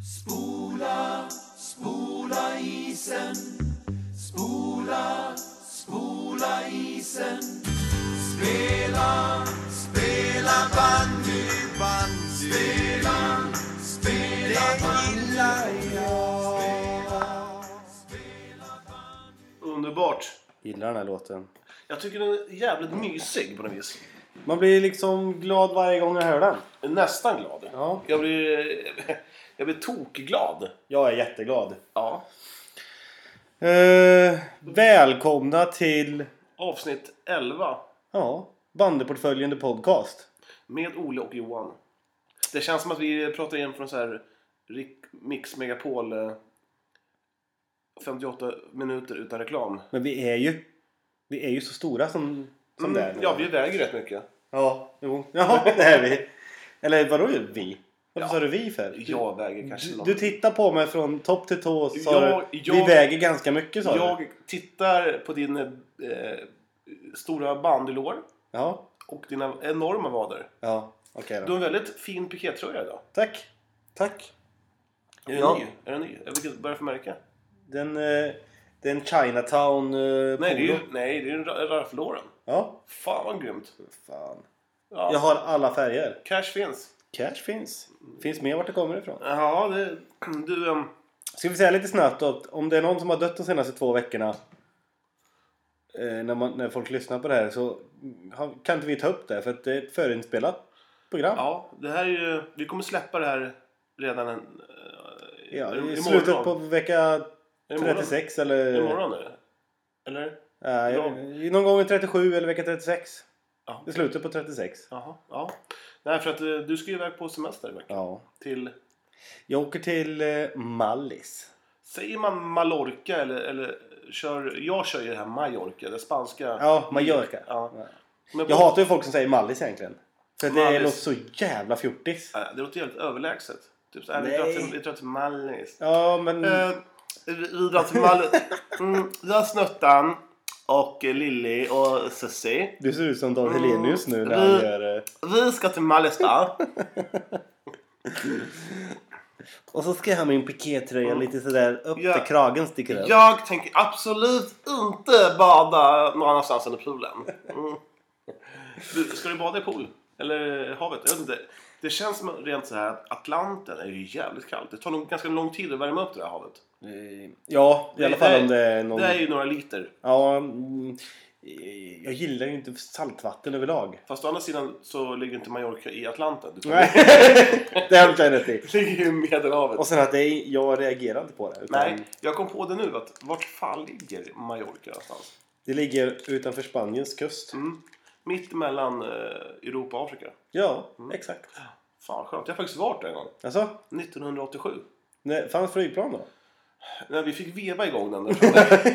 Spola, spola isen. Spola, spola isen. Spela, spela bandy, bandy. Spela, spela bandy. Underbart. Gillar den här låten. Jag tycker den är jävligt mysig på något vis. Man blir liksom glad varje gång jag hör den. Jag är Nästan glad. Ja. Jag blir, jag blir tokglad. Jag är jätteglad. Ja. Eh, välkomna till Avsnitt 11 ja, Bandyportföljen The Podcast. med Ole och Johan. Det känns som att vi pratar igen från så här Rick- Mix Megapol eh, 58 minuter utan reklam. Men vi är ju, vi är ju så stora som, som det är. Mm, ja, vi väger rätt mycket. ja, jo. ja, det är vi. Eller vadå vi? Varför Ja. sa du vi för? Jag väger kanske Du, något. du tittar på mig från topp till tå och sa Jag- du, jag- vi väger ganska mycket sa du. Jag tittar på din eh, stora bandylår Ja, och dina enorma vader. ja. okej Du då. har en väldigt fin pikétröja idag. Tack. Tack. Är den Ja. ny? Är den ny? Är- Vilket, vad är det för märke? Den, eh, det är en Chinatown eh, Nej, det är polo. ju nej, det är en Ra- Ralph Lauren. Ja, Fan vad grymt. fan. Ja, Jag har alla färger. Cash finns. Cash finns. Finns med vart det kommer ifrån. Ja, det, du... ehm, Ska vi säga lite snabbt då, att om det är någon som har dött de senaste två veckorna eh, när, man, när folk lyssnar på det här så mm, har- kan inte vi ta upp det för att det är ett förinspelat program. ja, det här är ju... Vi kommer släppa det här redan en, eh, Ja, im- I slutet på vecka 36 eller... Imorgon är det. Eller? Nej, Ja. någon gång i 37 eller vecka 36. Ja. I slutet på 36. Jaha, ja. Nej, för att eh, du ska ju iväg på semester i veckan. Ja. Till... Jag åker till eh, Mallis. Säger man Mallorca eller, eller kör... Jag kör ju det här Mallorca, det spanska. Ja, Mallorca. Ja. Ja. Men på, Jag hatar ju folk som säger Mallis egentligen. För det Mallis. låter så jävla fjortis. Ja, Det låter jävligt överlägset. Typ så här, vi Nej. drar till- vi drar till Mallis. Ja, men... Eh, vi vi drar till Mallis. Mm, jag Snuttan och eh, Lilly och Susie. Du ser ut som Dan Helenius nu när Mm. han gör... eh, Vi ska till Mallis då. Och så ska jag ha min pikétröja lite sådär upp Ja. till kragen sticker upp. Jag tänker absolut inte bada någon annanstans än i poolen. Mm. Du, ska du bada i pool? Eller havet? Jag vet inte. Det känns som rent så här att Atlanten är ju jävligt kallt. Det tar nog ganska lång tid att värma upp det där havet. Eh, Ja, i alla fall om det är någon... Det är ju några liter. Ja, mm, eh, jag gillar ju inte saltvatten överlag. Fast å andra sidan så ligger inte Mallorca i Atlanten. Du Nej, det har du rätt i. Det ligger ju i Medelhavet. Och sen att det är, jag reagerar inte på det. Utan Nej, jag kom på det nu att vart fan ligger Mallorca någonstans? Det ligger utanför Spaniens kust. Mm. Mitt mellan eh, Europa och Afrika. Ja, exakt. Fan skönt. Jag har faktiskt varit där en gång. Alltså, 1987. när, fanns flygplan då? När vi fick veva igång den där framme.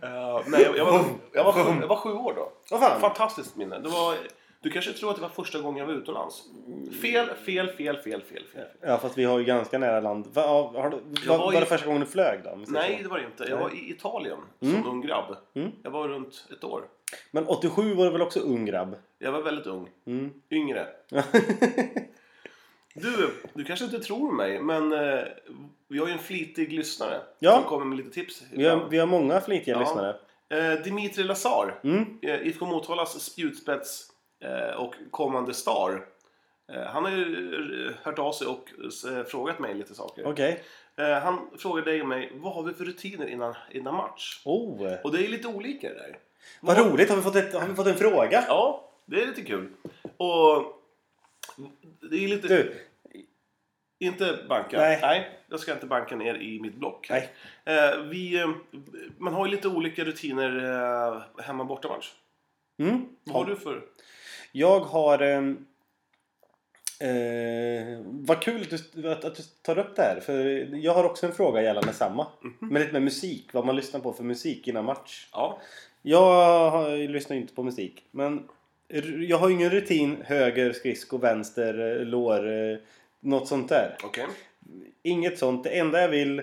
Eh, nej, jag, jag, var, jag, var sju, jag var sju år då. Vad fan? Fantastiskt minne. Det var, du kanske tror att det var första gången jag var utomlands. Mm. Fel, fel, fel, fel, fel. fel. Ja, fast vi har ju ganska nära land. Va, ja, har, du- Jag va, var var ju- det första gången du flög då? om vi säger Nej, Typ så? Mm. det var det inte. Jag var i Italien som ung grabb. Jag var runt ett år. Men 87 var du väl också ung grabb? Jag var väldigt ung. Mm. Yngre. Du, du kanske inte tror mig, men eh, vi har ju en flitig lyssnare Ja. som kommer med lite tips. Vi har, vi har många flitiga Ja. lyssnare. Eh, Dimitri Lazar, Mm. eh, IFK Motalas spjutspets eh, och kommande star. Eh, han har ju eh, hört av sig och eh, frågat mig lite saker. Okej. Eh, han frågade dig och mig, vad har vi för rutiner innan, innan match? Oh. Och det är lite olika det där. Vad roligt! Har vi fått, ett, har vi fått en fråga? Ja, det är lite kul. Och det är lite... Du, Inte banka. Nej. Nej. jag ska inte banka ner i mitt block. Nej. Eh, vi, eh, man har ju lite olika rutiner eh, hemma och bortamatch. mm. Vad har du för... jag har... ehm, Eh, vad kul att du, att, att du tar upp det här. För jag har också en fråga gällande samma. Mhm. Men lite med musik. Vad man lyssnar på för musik innan match. Ja. Jag har- jag lyssnar ju inte på musik. Men r- jag har ju ingen rutin höger skridsko, vänster eh, lår, eh, något sånt där. Okej. Inget sånt. Det enda jag vill,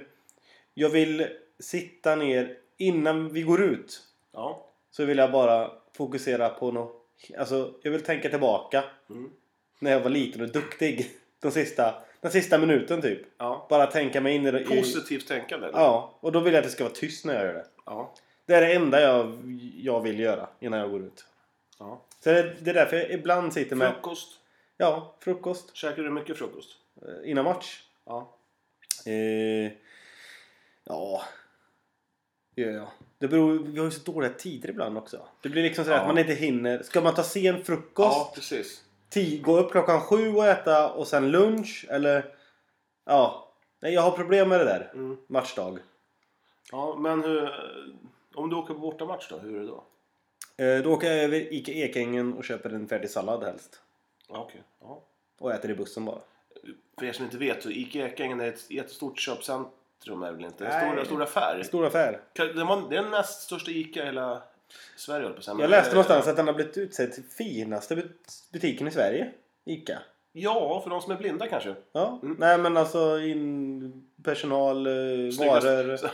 jag vill sitta ner innan vi går ut. Ja. Så vill jag bara fokusera på något. Alltså, jag vill tänka tillbaka Mm. när jag var liten och duktig. Den sista, den sista minuten typ. Ja. Bara tänka mig in i det. i- Positivt tänkande. eller? Ja, och då vill jag att det ska vara tyst när jag gör det. Ja. Det är det enda jag, jag vill göra innan jag går ut. ja. Så det, det är därför jag ibland sitter med... Frukost. Ja, frukost. Käkar du mycket frukost? eh, Innan match. Ja. Eh, ja, det gör jag. Det beror, vi har ju så dåliga tider ibland också. Det blir liksom sådär Ja. att man inte hinner. Ska man ta sen frukost? Ja, precis. ti- gå upp klockan sju och äta och sen lunch? Eller? Ja. Nej, jag har problem med det där. Mm. Matchdag. Ja, men hur, om du åker på bortamatch då, hur är det då? Eh, då åker jag över Ica Ekängen och köper en färdig sallad helst. Ja, okej. Ja. Och äter i bussen bara. För er som inte vet så Ica Ekängen är ett jättestort köpcentrum är det väl inte? En Nej. stor, en stor affär. Stor affär. Kan- Den var, det är den näst största Ica i hela Sverige höll jag på att säga. men- eh, Jag läste någonstans att den har blivit utsedd till finaste but- butiken i Sverige. Ica. Ja, för de som är blinda kanske. Ja. Mm. Nej men alltså in personal, eh, Snyggast. varor. Så,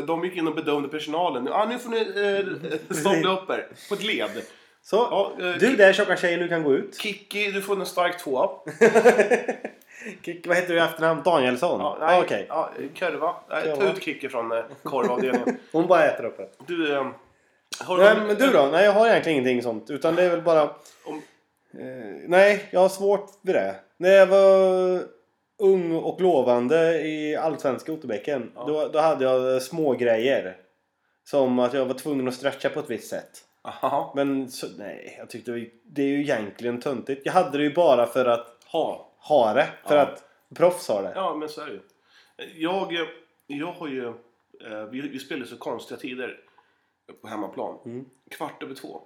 de gick in och bedömde personalen. Ja, nu får ni eh, stoppa upp er på ett led. Så. Ja, eh, du där tjocka tjejen, du kan gå ut. Kiki, du får en stark tvåa. Kick, vad heter du i efternamn? Danielsson? Ja, Ja, nej, Mm. Okej. ja, kurva. Nej, Kurva. Ta ut Kiki från eh, korvavdelningen. Hon bara äter upp det. Du, eh, har du- Nej, men du då? Nej, jag har egentligen ingenting sånt. Utan det är väl bara... Om- Eh, nej, jag har svårt vid det. När jag var ung och lovande i Allsvenska Otterbäcken. Ja. Då, då hade jag små grejer Som att jag var tvungen att stretcha på ett visst sätt. Aha. Men så, nej, jag tyckte det, var ju- det är ju egentligen töntigt. Jag hade det ju bara för att Ha. ha det. För Ja. att proffs har det. Ja, men så är det ju. Jag, eh, jag har ju... eh, Vi, vi spelar ju så konstiga tider på hemmaplan. Mm. Kvart över två.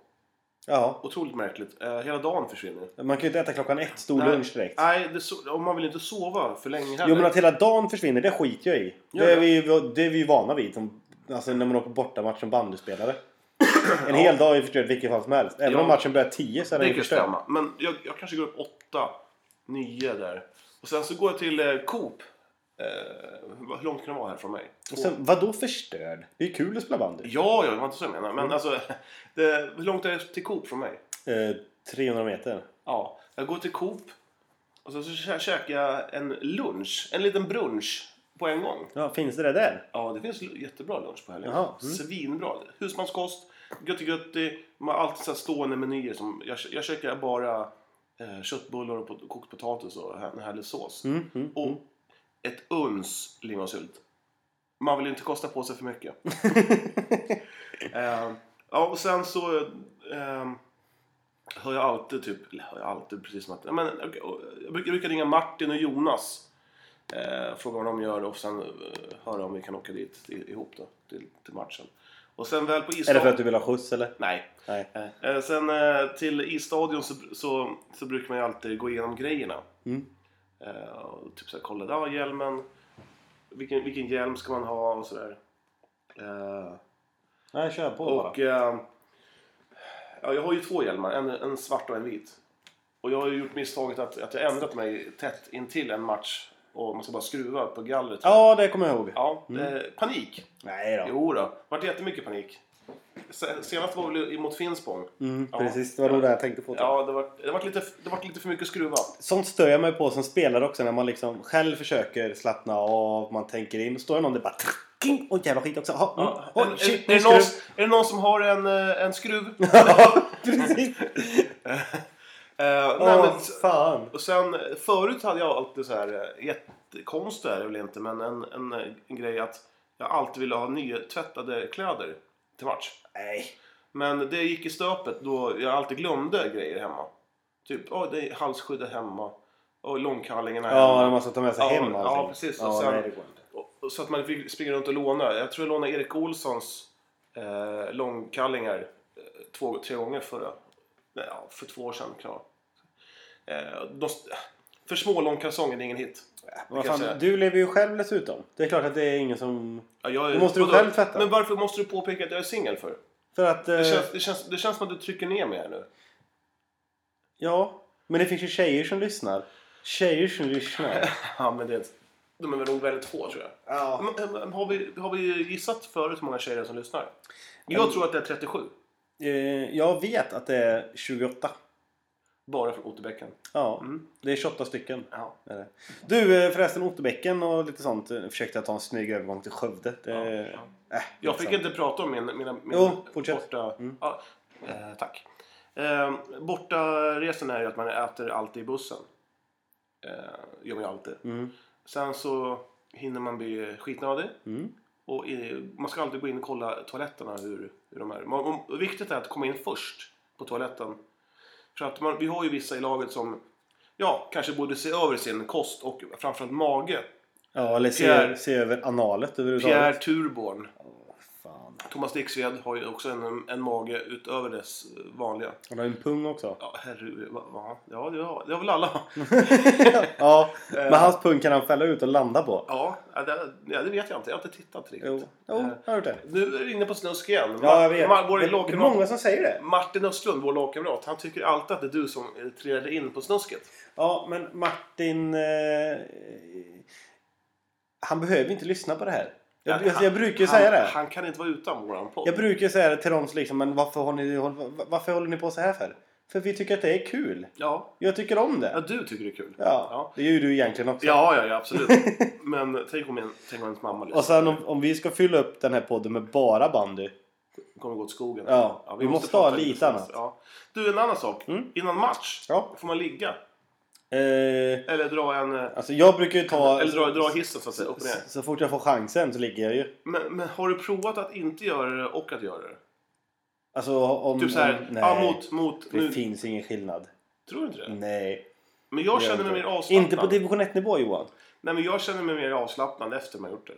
Ja. Otroligt märkligt. Eh, Hela dagen försvinner. Man kan ju inte äta klockan ett stor Nej. lunch direkt. Nej, det, so- om man vill inte sova för länge heller. Jo men att hela dagen försvinner, det skiter jag i. Ja, det, är ja. vi, det är vi ju vana vid. Som, alltså när man åker bortamatch som bandyspelare. En hel dag är förstörd vilket fall som helst. Även Ja. om matchen börjar 10 så är den Det ju kan förstörd. stämma. Men jag, jag kanske går upp åtta, nio där. Och sen så går jag till eh, Coop. Eh, vad- hur långt kan det vara här från mig? Och Sen, vadå förstörd? Det är kul att spela bandy. Ja, ja, det var inte så jag menade. Men Mm. alltså, det, hur långt är det till Coop från mig? Eh, 300 meter. Ja, jag går till Coop. Och sen så kä- käkar jag en lunch, en liten brunch på en gång. Ja, finns det det där? Ja, det finns l- jättebra lunch på helgen. Jaha, mm. Svinbra. Husmanskost, göttigötti. Man har alltid så här stående menyer. Som, jag, jag käkar bara eh, köttbullar och pot- kokt potatis och här- en härlig sås. Mm, mm. Och ett uns lingonsylt. Man vill ju inte kosta på sig för mycket. eh, ja, och sen så eh, hör jag alltid typ, eller hör jag alltid precis som att, ja, men, jag, jag, brukar, jag brukar ringa Martin och Jonas. Eh, fråga vad de gör och sen eh, höra om vi kan åka dit i- ihop då, till, till matchen. Och sen väl på Är det isstadion... för att du vill ha skjuts eller? Nej. Nej. Eh, sen eh, till isstadion så, så, så brukar man ju alltid gå igenom grejerna. Mm. Eh, och typ såhär, kolla, ja hjälmen. Vilken, vilken hjälm ska man ha och sådär. Eh, Nej, kör på bara. och... Eh, ja, jag har ju två hjälmar, en, en svart och en vit. Och jag har ju gjort misstaget att, att jag ändrat mig tätt intill en match. Och man ska bara skruva på gallret. Ja, Mm. det kommer jag ihåg. Ja, eh, panik. Nej då. Jo då, det vart jättemycket panik. Se- Senast var väl mot Finspång. Mm, Ja. Precis, det var nog det jag tänkte på. typ. Ja, det var, det var, lite, det var lite för mycket skruva. Sånt stör jag mig på som spelare också när man liksom själv försöker slappna av, man tänker in. Står det någon där bara... King! Oj jävla skit också! Aha, mm. Ja, Oj, är, är, shit, är, nu det ska någon, du- är det någon som har en, eh, en skruv? Eh, Ja, precis! nej, Åh, men, fan! och sen, förut hade jag alltid så här, eh, jättekonst är det väl inte, men en, en, eh, en grej att jag alltid ville ha nytvättade kläder till match. Nej. Men det gick i stöpet då jag alltid glömde grejer hemma. Typ, oh, det är halsskyddet hemma. Och långkallingarna Ja, när hemma. man ska ta med sig Ja, hem ja, allting. precis. Och Ja, sen- nej, det går inte. Och- och Så att man fick springa runt och låna. Jag tror jag lånade Erik Olssons eh, långkallingar eh, två, tre gånger förra, nej, ja, för två år sedan. Kan det vara. eh, de, för små långkalsonger, det är ingen hit. Vad kan jag fan, säga. du lever ju själv dessutom. Det är klart att det är ingen som... Ja, jag är- Då måste du vadå? själv tvätta. Men varför måste du påpeka att jag är singel för? För att... Eh, Det känns, det, känns, det känns som att du trycker ner mig här nu. Ja. Men det finns ju tjejer som lyssnar. Tjejer som lyssnar. Ja, men det, de är väl nog väldigt få tror jag. ja. Men, eh, men, har, vi, har vi gissat förut hur många tjejer som lyssnar? Jag tror att det är 37. eh, jag vet att det är 28. Bara från Otterbäcken. Ja, Mm. det är 28 stycken. Ja. Det är det. Du eh, förresten Otterbäcken och lite sånt eh, försökte jag ta en snygg övergång till Skövde. Det, Ja, ja. Äh, Jag fick skitsamma. inte prata om min, mina, min Jo, fortsätt. borta... Mm. Ja, eh, tack. Eh, bortaresan är ju att man äter alltid i bussen. Eh, gör man ju alltid. Mm. Sen så hinner man bli skitnödig. Mm. Och i, man ska alltid gå in och kolla toaletterna hur, hur de är. Man, och viktigt är att komma in först på toaletten. För att man, vi har ju vissa i laget som ja, kanske borde se över sin kost och framförallt mage. Ja, eller Pierre- se, se över analet Pierre överhuvudtaget. Turborn. Fan. Thomas Dixved har ju också en, en mage utöver dess vanliga. Han har ju en pung också. Ja, herre, va, va? ja det, har, det har väl alla. Ja, Eh. men hans pung kan han fälla ut och landa på. Ja, det, ja, det vet jag inte. Jag har inte tittat riktigt. Jo, jo Eh, jag har hört det. Nu är du inne på snusk igen. Ja, jag vet. Ma- vår Det, det är lagkamrat- många som säger det. Martin Östlund, vår lagkamrat, han tycker alltid att det är du som eh, träder in på snusket. Ja, men Martin... Eh, han behöver inte lyssna på det här. Jag, jag, jag brukar ju han, säga det. Han kan inte vara utan våran podd. jag brukar ju säga det till dem som liksom, men varför, har ni, håll- varför håller ni på så här för? För vi tycker att det är kul. Ja. Jag tycker om ja, det. du tycker det är kul. Ja, det gör ju du egentligen också. Ja, ja, ja absolut. Men tänk om, en, tänk om ens mamma lyssnar. Och sen om, om vi ska fylla upp den här podden med bara bandy. kommer gå åt skogen. Ja, vi måste ha prata lite business. annat. Ja. Du, en annan sak. Mm. Innan match, Ja. får man ligga? Eh, Eller dra en... eh, alltså jag brukar ju ta... Eller dra, dra hissen så att säga, upp och ner. så, så fort jag får chansen så ligger jag ju. Men, men har du provat att inte göra det och att göra det? Alltså om... Typ såhär, om, nej, ja, mot, mot, det nu. finns ingen skillnad. Tror du inte det? Nej. Men jag det gör känner mig mer inte. avslappnad. Inte på division 1-nivå Johan. Nej men jag känner mig mer avslappnad efter man gjort det.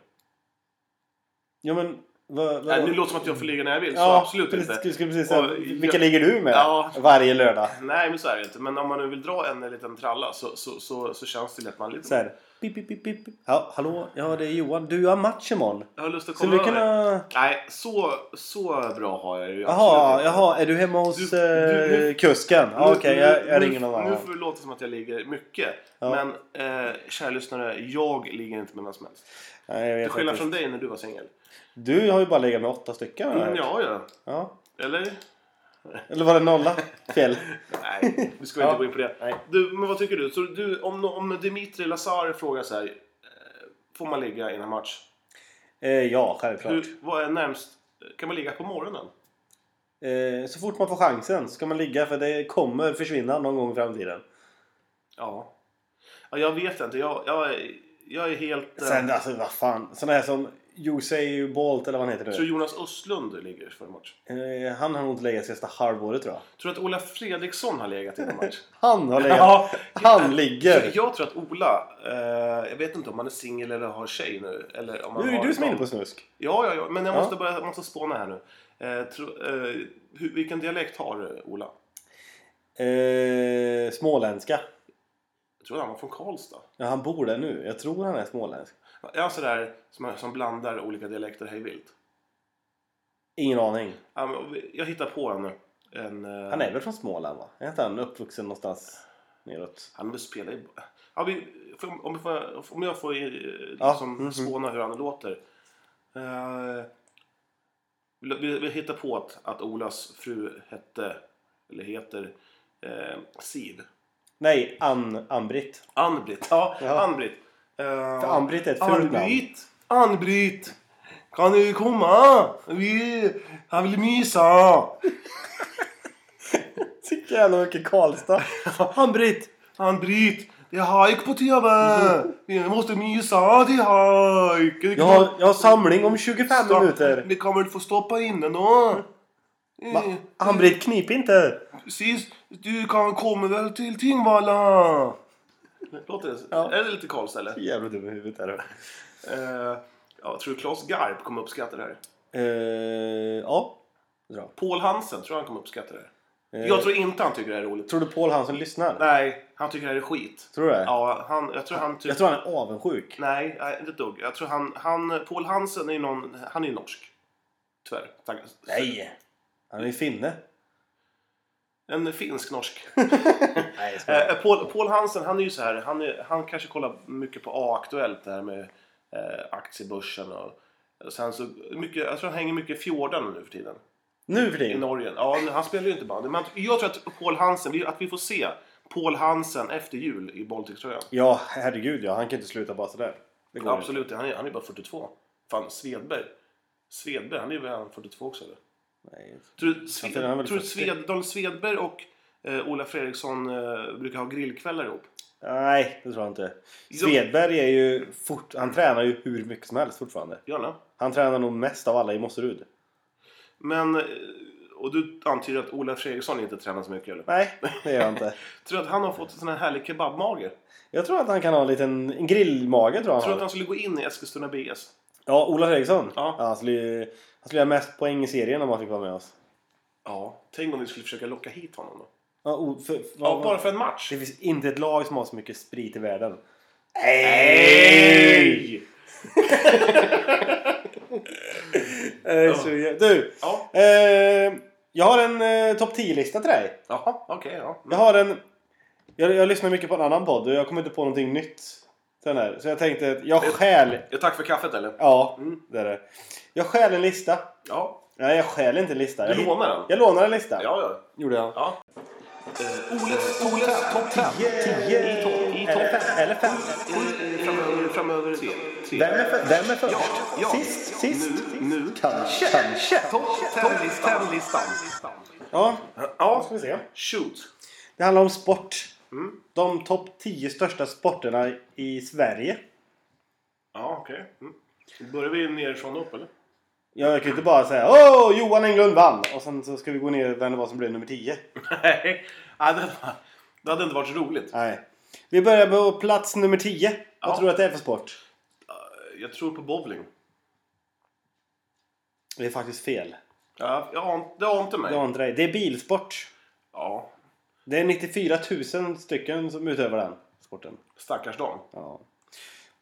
Ja men... Vad, vad, Nej, nu låter det som att jag får ligga när jag vill, så ja, absolut precis, inte. Jag skulle precis säga, Och- vilka jag- ligger du med Ja. varje lördag? Nej men så är det inte. Men om man nu vill dra en liten tralla så, så, så, så känns det lätt man lite... Så här, pip, pip, pip, pip. Ja, hallå? Ja, det är Johan. Du har match imorgon. Jag har lust att Skulle komma du kunna... över. Nej, så, så bra har jag ju Jaha, absolut inte. jaha, är du hemma hos Du- du- eh, nu- kusken? Ja, Nu- Okej, jag, jag nu- ringer någon Nu annan. får det låta som att jag ligger mycket. Ja. Men eh, kära lyssnare, jag ligger inte med vem som helst. Nej, jag vet Till skillnad faktiskt. från dig när du var singel. Du har ju bara legat med åtta stycken. Mm, Mm, ja, ja. ja. Eller? Eller var det nolla? Fel. Nej, vi ska Ja. inte gå in på det. Nej. Du, men vad tycker du? Så du om, om Dimitri Lazar frågar så här, eh, får man ligga innan match? Eh, ja, självklart. Hur, vad är närmst? Kan man ligga på morgonen? Eh, så fort man får chansen ska man ligga för det kommer försvinna någon gång i framtiden. Ja. ja jag vet inte. Jag, jag, är- jag är helt... eh, Sen, alltså vad fan. Sådana här som Usain Bolt eller vad han heter tror nu. Jonas Östlund ligger före match. Eh, han har nog inte legat sista halvåret tror jag. Tror du att Ola Fredriksson har legat innan match? Han har legat. Han ligger. Så jag tror att Ola, eh, jag vet inte om han är singel eller har tjej nu. Eller om han Nu är har det du som är någon. inne på snusk. Ja, ja, ja. men jag Ja. måste, börja, jag måste spåna här nu. Eh, tro, eh, hur, vilken dialekt har eh, Ola? Eh, småländska. Jag tror han var från Karlstad. Ja, han bor där nu. Jag tror han är småländsk. Är han sådär som, som blandar olika dialekter hej vilt? Ingen aning. Ja, men vi- Jag hittar på en nu. En, eh, Han är väl från Småland va? Är inte han uppvuxen någonstans neråt? Han spelar ju... Ja, vi, får- om, jag får, om jag får eh, Ja, liksom, mhm. spåna hur han låter. Eh, vi, vi hittar på att, att Olas fru hette, eller heter, eh, Siv. Nej, Ann, Ann-Britt. Ann-Britt. Ja, Ja. Ann-Britt. Eh, För Ann-Britt är ett fult namn. Ann-Britt! Ann-Britt! Kan du komma? Vi, jag vill mysa! Så jävla mycket Karlstad. Ann-Britt! Ann-Britt! Det är hajk på TV! Vi måste mysa till hajk! Mm. Jag har, jag har samling om 25 minuter. Ni kommer inte få stoppa in den då! Eh, Va? Ann-Britt, knip inte! Precis, du kan komma väl till Tingvalla! Låter det? Ja. Är det lite Karlstad eller? Jävla dum i huvudet är du. Eh, ja, tror du Claes Garp kommer uppskatta det här? Eh, ja. Bra. Paul Hansen, tror du han kommer uppskatta det här? Eh, Jag tror inte han tycker det här är roligt. Tror du Paul Hansen lyssnar? Nej, han tycker det här är skit. Tror du det? Ja, han, jag tror han tycker... Jag tror han är avundsjuk. Nej, nej, inte ett dugg. Jag tror han, han, Paul Hansen är ju någon, han är ju norsk. Tyvärr. Tack. Nej! Han är ju finne. En finsk-norsk. Nej, jag skojar. Eh, Paul, Paul Hansen, han är ju så här, han, är, han kanske kollar mycket på A-aktuellt det här med eh, aktiebörsen och och sen så mycket, jag tror han hänger mycket i fjordarna nu för tiden. Nu för i tiden. Norge. Ja, han spelar ju inte bandy. Men jag tror att Paul Hansen, vi- att vi får se Paul Hansen efter jul i Baltic-tröjan. Ja, herregud ja. Han kan inte sluta bara sådär. Det går inte. Absolut, han är, han är bara 42. Fan, Svedberg. Svedberg, han är väl 42 också eller? Nej. Tror du Ja, för han Sve- är väl tror du 40. Sved, Daniel Svedberg och eh, Ola Fredriksson eh, brukar ha grillkvällar ihop? Nej, det tror jag inte. Svedberg är ju fort... Han tränar ju hur mycket som helst fortfarande. Gör han det? Han tränar nog mest av alla i Mosserud. Men, eh, och du antyder att Ola Fredriksson inte tränar så mycket eller? Nej, det gör jag inte. Tror du att han har fått en sån här härlig kebabmage? Jag tror att han kan ha en liten en grillmage tror jag Tror du han att har. han skulle gå in i Eskilstuna BS? Ja, Ola Fredriksson. Ja. han, skulle, ju- han skulle göra mest poäng i serien om han fick vara med oss. Ja. Tänk om vi skulle försöka locka hit honom då? Ja, o, för, för, Ja, bara för en match? Det finns inte ett lag som har så mycket sprit i världen. Nej! Eh, så, jag- du! Ja. Eh, jag har en eh, topp 10-lista till dig. Jaha, okej. ja. Jag har en... Jag, jag lyssnar mycket på en annan podd och jag kommer inte på någonting nytt. Den här. Så jag tänkte att jag stjäl... Ja, tack för kaffet eller? Ja, Mm. det är det. Jag stjäl en lista. Ja. Nej, jag stjäl inte en lista. Du Jag, lånar den? jag lånar en lista. Ja, ja. Gjorde jag. ja. Eh, Oles, Oles topp 10. I topp i topp Eller fem. Eller fem. Eh, Framöver, framöver tre. tre. Vem är, för, vem är först? Ja, ja. Sist, sist. Nu, nu. Kanske. Kanske. Topp tennis- tennislistan. Ja, då Ja, ska vi se. shoot. Det handlar om sport. Mm. De topp 10 största sporterna i Sverige. Ja, okej. Mm. Då Börjar vi nerifrån och upp eller? Ja, Jag kan ju inte bara säga Åh, Johan Englund vann! Och sen så ska vi gå ner vem det var som blev nummer 10. Nej, Ja, det hade- det hade inte varit så roligt. Nej. Vi börjar på plats nummer 10. Vad Ja. tror du att det är för sport? Jag tror på bowling. Det är faktiskt fel. Ja, jag an- det ante Det, var mig. inte det. det är bilsport. Ja, Det är 94 000 stycken som utövar den sporten. stackars dem. Ja.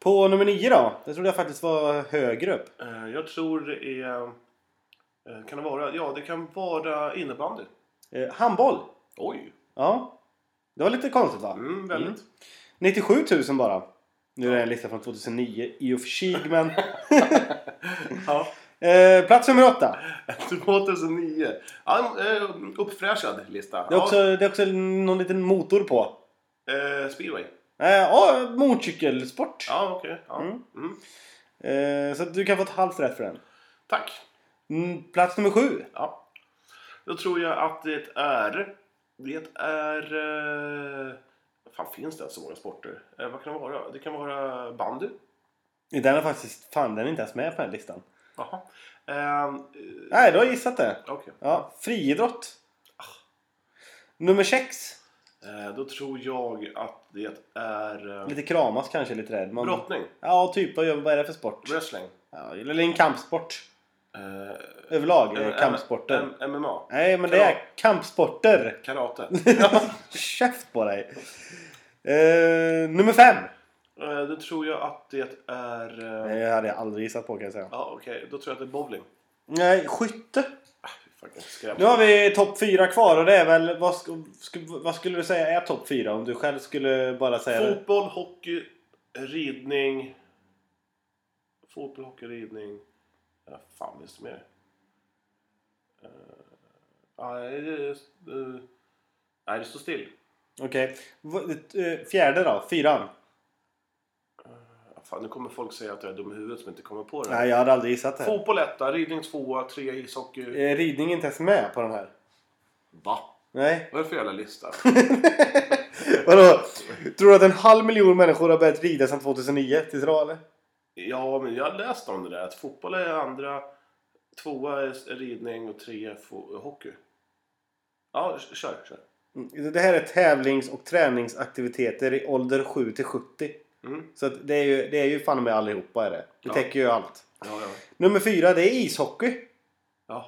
På nummer 9 då? Det trodde jag faktiskt var högre upp. Eh, Jag tror det är... eh, Kan det vara? Ja, det kan vara innebandy. Eh, handboll. Oj! Ja. Det var lite konstigt va? Mm, väldigt. 97 000 bara. Nu är det en lista från 2009 i och för sig men... Ja. eh, plats nummer 8. 2009. Ja, en, eh, uppfräschad lista. Det är, också, det är också någon liten motor på. Ja, eh, speedway. Eh, Ja, motorcykelsport. Ja, okej. Ja. Mm. Mm. Eh, så att du kan få ett halvt rätt för den. Tack. Mm, plats nummer 7. Ja. Då tror jag att det är... Det är... Eh, vad fan finns det ens så många sporter? Eh, vad kan det vara? Det kan vara bandy. Den är faktiskt... Fan, den är inte ens med på den här listan. Jaha. Eh, eh, Nej, du har gissat det. okej. Ja, friidrott. Ah. Nummer 6. Eh, då tror jag att det är... Eh, Lite kramas kanske lite där. Man... brottning. Ja, typ. Vad gör- vad är det för sport? Wrestling. Ja, eller en kampsport. Eh, Överlag M- är kampsporter. M- MMA. Nej, men det är kampsporter. Karate. Käft på dig. Eh, nummer 5. Eh, då tror jag att det är... Eh, Det hade jag aldrig gissat på kan jag säga. ja, okej. Då tror jag att det är bowling. Nej, skytte. Ah, fy fan, jag skrämmer. Nu har vi topp fyra kvar och det är väl... Vad, sk- sk- vad skulle du säga är topp fyra om du själv skulle bara säga det? Fotboll, hockey, ridning. Fotboll, hockey, ridning. Ja, fan finns det mer? Eh, nej, det, eh, nej, det står still. Okej. V- eh, Fjärde då? Fyran? Ja, fan, nu kommer folk säga att jag är dum i huvudet som inte kommer på det. Nej, jag hade aldrig gissat det. här. Fotboll etta, ridning tvåa, trea ishockey. Eh, Ridning är inte ens med på den här. Va? Nej. Vad är det för jävla lista? Vadå? Tror du att en halv miljon människor har börjat rida sedan 2009? Tills idag eller? ja, men jag har läst om det där. Att fotboll är andra, tvåa är ridning och trea är fo- hockey. Ja, kör, kör. Mm, Det här är tävlings och träningsaktiviteter i ålder 7 till 70. Mm. Så att det, är ju, det är ju fan med allihopa är det. Det Ja. täcker ju allt. Ja, ja. Nummer fyra, det är ishockey. Jaha.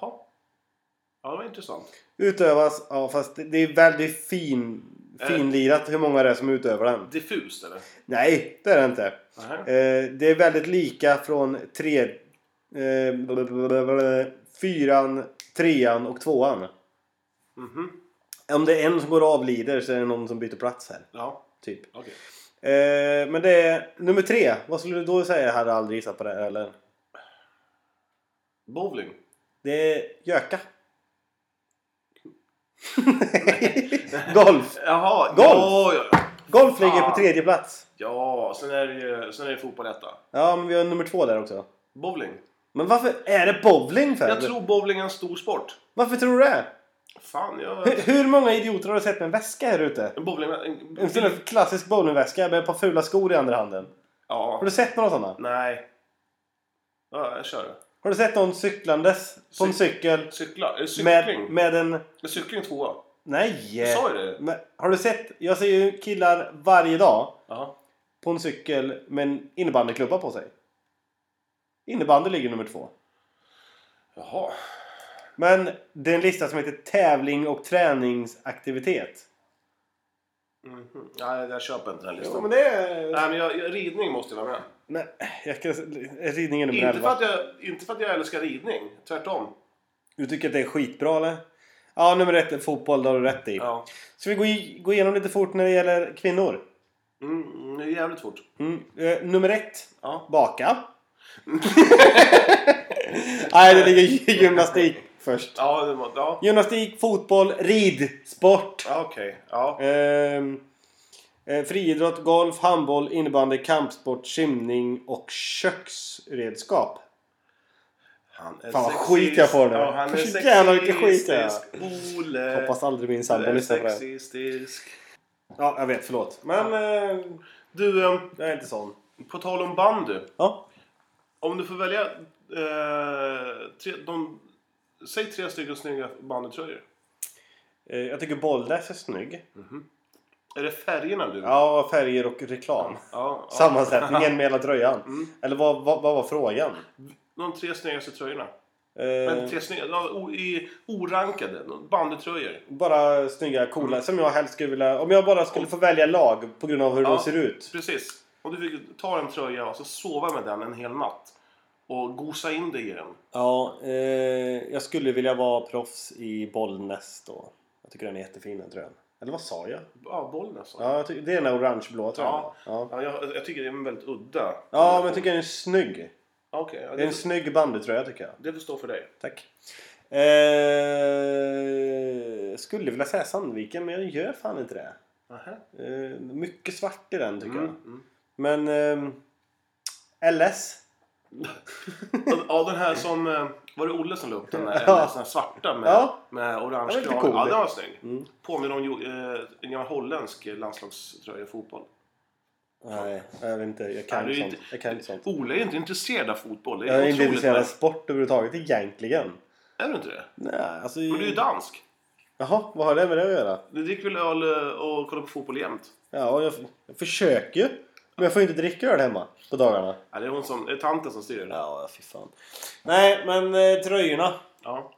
Ja, det var intressant. Utövas, ja fast det- det är väldigt fin, Eh. finlirat hur många det är som utövar den. Diffust, eller? Nej, det är det inte. Nähä. Eh, det är väldigt lika från tre, eh, blablabla, fyran, trean och tvåan. Mhm. Om det är en som går och avlider så är det någon som byter plats här. Ja, Typ. okej. Eh, men det är nummer tre. Vad skulle du då säga? Jag hade aldrig gissat på det här, eller? Bowling. Det är göka. Golf! Jaha, Golf! Ja, ja, Golf ligger Fan. på tredje plats. ja. sen är det ju sen är det fotboll etta. Ja, men vi har nummer två där också. Bowling. Men varför är det bowling för? Jag tror bowling är en stor sport. Varför tror du det? Fan, jag... Hur, hur många idioter har du sett med en väska här ute? En bowling... En En, sån där klassisk bowlingväska med ett par fula skor i andra handen. Har ja. du sett några sådana? Nej. Ja, jag kör. Har du sett någon cyklandes på en Cyk- cykel Cykla. Är det cykling? med, Eh. med en... Cykling tvåa. Nej! Jag sa ju det. Men, har du sett? Jag ser ju killar varje dag Ja. på en cykel med en innebandyklubba på sig. Innebandy ligger nummer två. Jaha. Men det är en lista som heter tävling och träningsaktivitet. Mhm. Nej, jag köper inte den här listan. Jo, men det är... Nej, men jag, jag, ridning måste jag vara med. Nej, jag kan... Ridning är nummer Inte för, 11. att jag, inte för att jag älskar ridning. Tvärtom. Du tycker att det är skitbra eller? Ja, nummer ett är fotboll, det har du rätt i. Ja. Ska vi gå, i, gå igenom lite fort när det gäller kvinnor? Mm, det är jävligt fort. Mm. Eh, nummer ett, Ja. baka. Nej, det ligger gy- gymnastik först. Ja, det var... Ja. Gymnastik, fotboll, ridsport. Ja, Okej. Ja. Ehm, eh, friidrott, golf, handboll, innebandy, kampsport, simning och köksredskap. Han är Fan, vad skit jag får nu. Ja, han är Vilken sexistisk. jävla vilken skit jag är. Ole. Hoppas aldrig min du sambo Eh, är lyssnar på det här. sexistisk. Ja, jag vet. Förlåt. Men eh, Du, eh, jag är inte sån. på tal om bandy. Ja. Om du får välja... Eh, tre, de, säg tre stycken snygga bandytröjor. Eh, jag tycker Bollnäs är snygg. Mm. Är det färgerna du? Ja, färger och reklam. ja, Mm. ja. Sammansättningen med hela tröjan. Eller vad, vad, vad var frågan? De tre snyggaste tröjorna. Men Eh, tre snygga, ja, o- i- orankade, bandytröjor. bara snygga, coola. Mm. Som jag helst skulle vilja... Om jag bara skulle få välja lag på grund av hur de Ja. ser ut. Precis. Om du fick ta en tröja och så sova med den en hel natt. Och gosa in dig i den. Ja, eh, jag skulle vilja vara proffs i Bollnäs då. Jag tycker den är jättefin den tröjan. Eller vad sa jag? Ja, Bollnäs. Ja, jag tycker, det är den där orangeblåa tröjan. Ja. ja. Ja, jag, jag tycker det är en väldigt udda. ja men jag tycker den är snygg. Okej, ja, Det är en det, snygg bandytröja tycker jag. det får stå för dig. Tack. Eh, skulle vilja säga Sandviken, men jag gör fan inte det. Nähä. Eh, mycket svart i den tycker jag. Mm, mm. Men ehm, LS. Ja, den här som... eh, Var det Olle som la upp den där? Ja. Den här svarta med, Ja. med orange Den var lite krage. cool. Ja, den var snygg. Mm. Påminner om jo- eh, en gammal holländsk landslagströja i fotboll. Nej, jag vet inte. Jag kan Nej, inte det är sånt. inte- Jag kan inte sånt. Ola är inte intresserad av fotboll. Det är Jag är inte otroligt. intresserad av sport överhuvudtaget egentligen. men- Är du inte det? Nej, alltså... Men du är ju dansk. Jaha, vad har det med det att göra? Du dricker väl öl eh, och kollar på fotboll jämt? Ja, jag, jag försöker ju. Men jag får inte dricka öl hemma på dagarna. Ja, det är hon som... Det är tanten som styr det. Ja. Ja, fy fan. Nej, men eh, tröjorna. ja.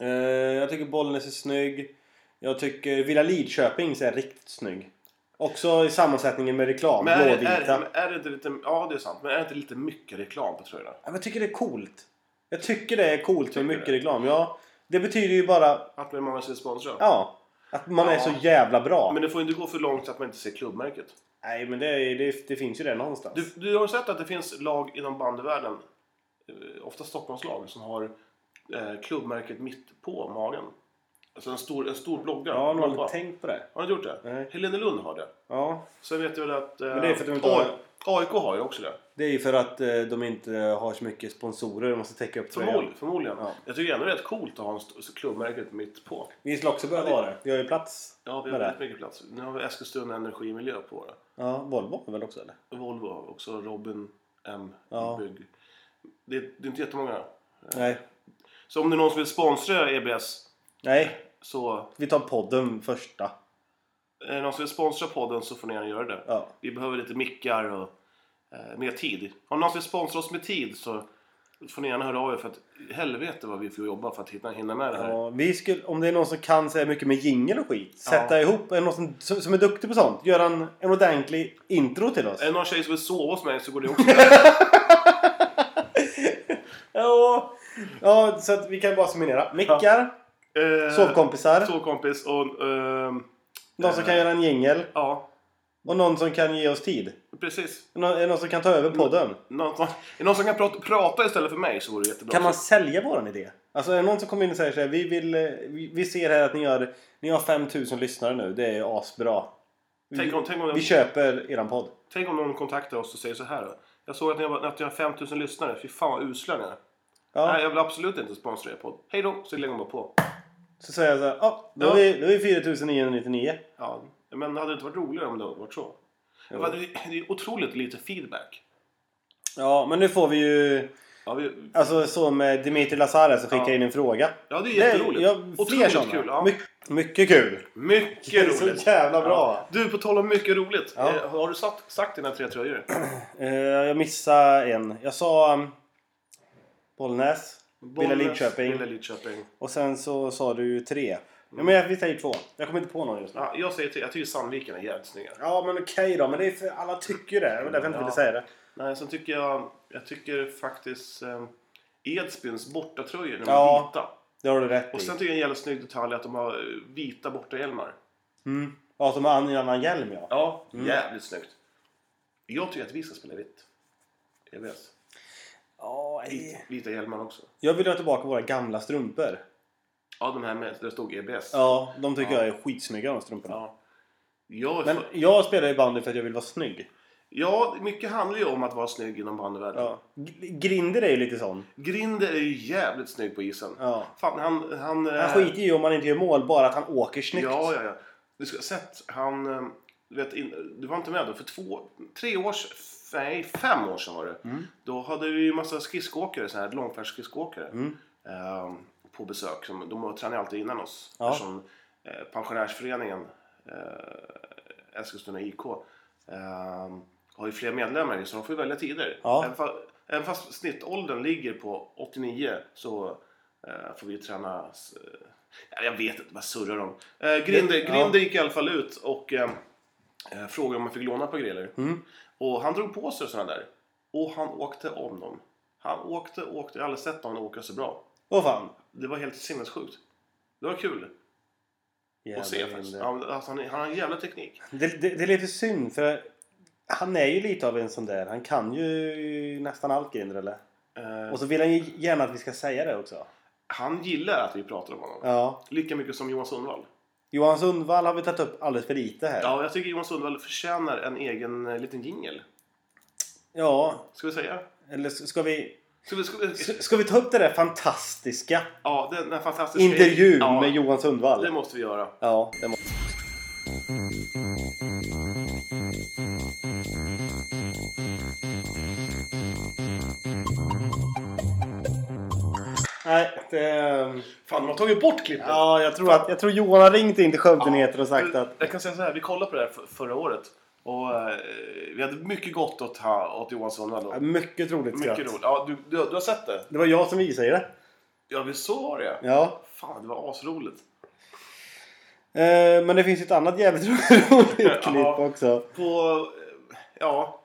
Eh, jag tycker Bollnäs är snygg. Jag tycker Villa Lidköping är riktigt snygg. Också i sammansättningen med reklam. Men är, Blåvita. är, är, är det inte lite... Ja, det är sant. Men är det inte lite mycket reklam på tröjorna? Ja, men jag tycker det är coolt. Jag tycker det är coolt med Tycker mycket det? reklam. Ja, det betyder ju bara Att man man ser sponsra? ja, att man är Ja. så jävla bra. Men det får ju inte gå för långt så att man inte ser klubbmärket. Nej, men det, är- det, det finns ju det någonstans. Du, du har sett att det finns lag inom bandyvärlden, eh, ofta Stockholmslag, som har eh, klubbmärket mitt på magen. Alltså en stor, en stor blogga. ja, någon blogga. har tänkt på det. Har du inte gjort det? Nej. Helene Lund har det. Ja, Sen vet jag väl att... Eh, Men det är för att de inte har- AI AIK har ju också det. det är ju för att eh, de inte har så mycket sponsorer. De måste täcka upp tröjan. Förmodligen. förmodligen. Ja. Jag tycker ändå det är rätt coolt att ha en st- klubbmärket mitt på. Vi skulle också börja Ja, det- vara det. Vi har ju plats. Ja, vi har Vad är det? väldigt mycket plats. Nu har vi Eskilstuna Energimiljö på det. Ja, Volvo har väl också eller? Volvo har vi också. Robin M. Ja. Bygg. Det, är- det är inte jättemånga. Nej. Så om det är någon som vill sponsra EBS Nej, så vi tar podden första. Är det någon som vill sponsra podden så får ni gärna göra det. Ja. Vi behöver lite mickar och eh, mer tid. Om någon vill sponsra oss med tid så får ni gärna höra av er för att helvete vad vi får jobba för att hitta, hinna med det här. Ja, vi skulle, om det är någon som kan säga mycket med jingel och skit. Sätta ihop är det någon som, som, som är duktig på sånt. Göra en, en ordentlig intro till oss. Är det någon tjej som vill sova hos mig så går det också. Ja, ja, så att vi kan bara summera. Mickar, Eh, sovkompisar, Sovkompis och... ehm, någon som kan göra en jingel ja, och någon som kan ge oss tid. precis. Någon, är det någon som kan ta över podden. Mm. Någon som, är det någon som kan prata, prata istället för mig så vore det jättebra. Kan man sälja våran idé? Alltså är det någon som kommer in och säger så här, vi, vill, eh, vi, vi ser här att ni har, ni har 5000 lyssnare nu, det är asbra. Vi, Tänk om, tänk, om, vi köper eran podd. tänk om någon kontaktar oss och säger så här. då. Jag såg att ni har, att ni har 5000 lyssnare. Fy fan vad usla ni är. Ja, Nej, jag vill absolut inte sponsra er podd. Hej då! Så lägger man bara på. Så säger jag så här, ja, då, Ja. Är vi, då är vi 4999. Ja, men hade det inte varit roligare om det hade varit så? Det var- det är otroligt lite feedback. Ja, men nu får vi ju, Ja, vi, alltså så med Dimitri Lazare som skickar Ja. in en fråga. ja det är Det är- jätteroligt. ja, fler otroligt sådana. kul. Ja. My, mycket kul. Det mycket är så roligt. jävla bra. Ja. Du, på tal om mycket roligt. Ja. Eh, har du sagt, sagt dina tre tröjor? Eh, jag missade en. Jag sa um, Bollnäs, Villa Mm. Lidköping Villa Lidköping. och sen så sa du ju tre. Ja, men jag, vi säger två. Jag kommer inte på någon just nu. Ja, jag säger till, jag tycker Sandviken är jävligt snygga. Ja men okej då, men det är för, alla tycker ju det. Det var därför jag inte Ja. ville säga det. Nej, sen tycker jag, jag tycker faktiskt eh, Edsbyns bortatröjor, de är Ja. vita. Det har du rätt Och sen i. tycker jag en jävla snygg detalj är att de har eh, vita bortahjälmar. Mm. Ja, som har an- en annan hjälm ja. Ja, Mm. jävligt snyggt. Jag tycker att vi ska spela vitt. EVS. Ja, Vit, vita hjälmar också. Jag vill ha tillbaka våra gamla strumpor. Ja, de här med, där det stod E EBS. Ja, de tycker Ja. jag är skitsnygga de strumporna. Ja. Jag, Men jag spelar ju bandy för att jag vill vara snygg. ja, mycket handlar ju om att vara snygg inom bandyvärlden. Ja. G- Grinder är ju lite sån. Grinder är ju jävligt snygg på isen. Ja. Fan, han... eh, Han, Han skiter ju om man inte gör mål, bara att han åker snyggt. Äh. Ja, ja, ja. Du ska ha sett, han... eh, Du, vet, in, du var inte med då, för två, tre år sedan, nej fem år sedan var det. Mm. Då hade vi ju massa skridskoåkare, sådana här långfärdsskridskoåkare. Mm. Eh, på besök. Som, de tränade alltid innan oss. Ja. Eftersom eh, pensionärsföreningen eh, Eskilstuna IK eh, har ju fler medlemmar i, så de får ju välja tider. Ja. Även, fa- även fast snittåldern ligger på 89 så eh, får vi träna... s- eh, ja, jag vet inte, vad surrar de? Eh, Grinder, Det- ja. Grinder gick i alla fall ut och eh, eh, frågade om man fick låna på griller. Mm. Och han drog på sig sådana där. Och han åkte om dem. Han åkte och åkte. Jag har aldrig sett någon åka så bra. Åh fan. Det var helt sinnessjukt. Det var kul att se Jävla faktiskt. Grinder. Ja, men, alltså, han, är- han har en jävla teknik. Det, det, det är lite synd för han är ju lite av en sån där. Han kan ju nästan allt Grinder eller? Eh, Och så vill han ju gärna att vi ska säga det också. han gillar att vi pratar om honom. Ja. Lika mycket som Johan Sundvall. Johan Sundvall har vi tagit upp alldeles för lite här. Ja, jag tycker Johan Sundvall förtjänar en egen eh, liten jingel. ja Ska vi säga? eller s- ska vi... Ska vi, ska vi, s- Ska vi ta upp det där fantastiska ja, den, den fantastiska... intervjun ja, med Johan Sundvall? Det måste vi göra. Ja, det må... Nej, det... Fan, de har tagit bort klippet. Ja, jag tror, att, jag tror Johan har ringt in till Skövdenyheter och sagt Jag- att... Jag kan säga så här, vi kollade på det här för, förra året. Och eh, vi hade mycket gott åt, ha- åt Johan Sundvall. då. Mycket roligt Mycket skratt. roligt. Ja, du, du, du har sett det? Det var jag som visade det. Ja, vi såg det. Ja. Fan, det var asroligt. Eh, men det finns ju ett annat jävligt roligt klipp Ja. också. På, eh, ja,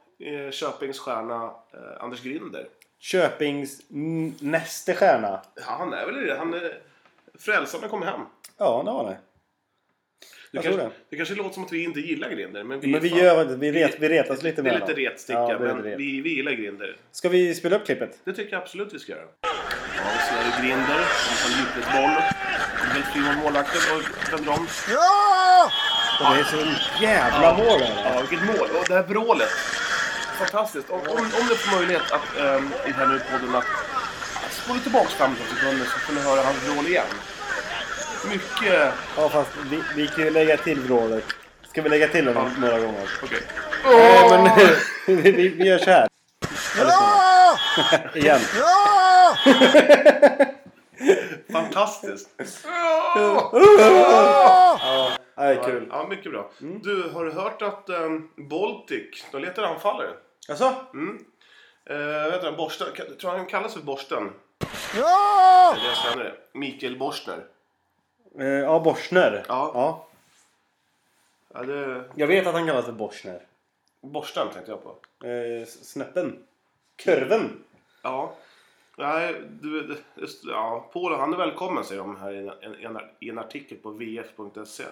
eh, Köpings stjärna eh, Anders Grinder. Köpings n- näste stjärna. Ja, Han är väl i det. Han är frälsaren när kommer hem. Ja, det var det. Det Jag tror kanske, det. det kanske låter som att vi inte gillar Grinder. Men vi, Men vi fan, gör faktiskt- vi, ret, vi retas lite det med är lite retsticka, Ja, det är men lite ret. vi, vi gillar Grinder. Ska vi spela upp klippet? Det tycker jag absolut vi ska göra. Ja, vi ser Grinder, som får djupledsboll. Kommer Helt fri mot målvakten och vänder om. Och det är så jävla mål här. Ja, vilket mål! Och det här brålet. Fantastiskt. Om, om, om du får möjlighet att ehm, i den här nu podden att spola tillbaka 15 sekunder så får ni höra hans vrål igen. Mycket... Ja, fast vi, vi kan ju lägga till vrålet. Ska vi lägga till honom några gånger? Okej. Nej, men vi, vi, vi gör så här. Eller så. Igen. Fantastiskt! Ja, det är kul. Ja, mycket bra. Du, har du hört att ehm, Baltic, de letar anfallare? Alltså? Uh, vet du, Borsten, kan- tror du han kallas för Borsten? Ja! Det är deras tränare. Mikael Borstner. Eh, Ja, Borstner. Ja. ja. Ja, det... Jag vet att han kallas för Borstner. Borsten tänkte jag på. Eh, s- snäppen. Kurven. Ja. Nej, du, just, ja, Paul han är välkommen säger de här i en, en, i en artikel på vf.se.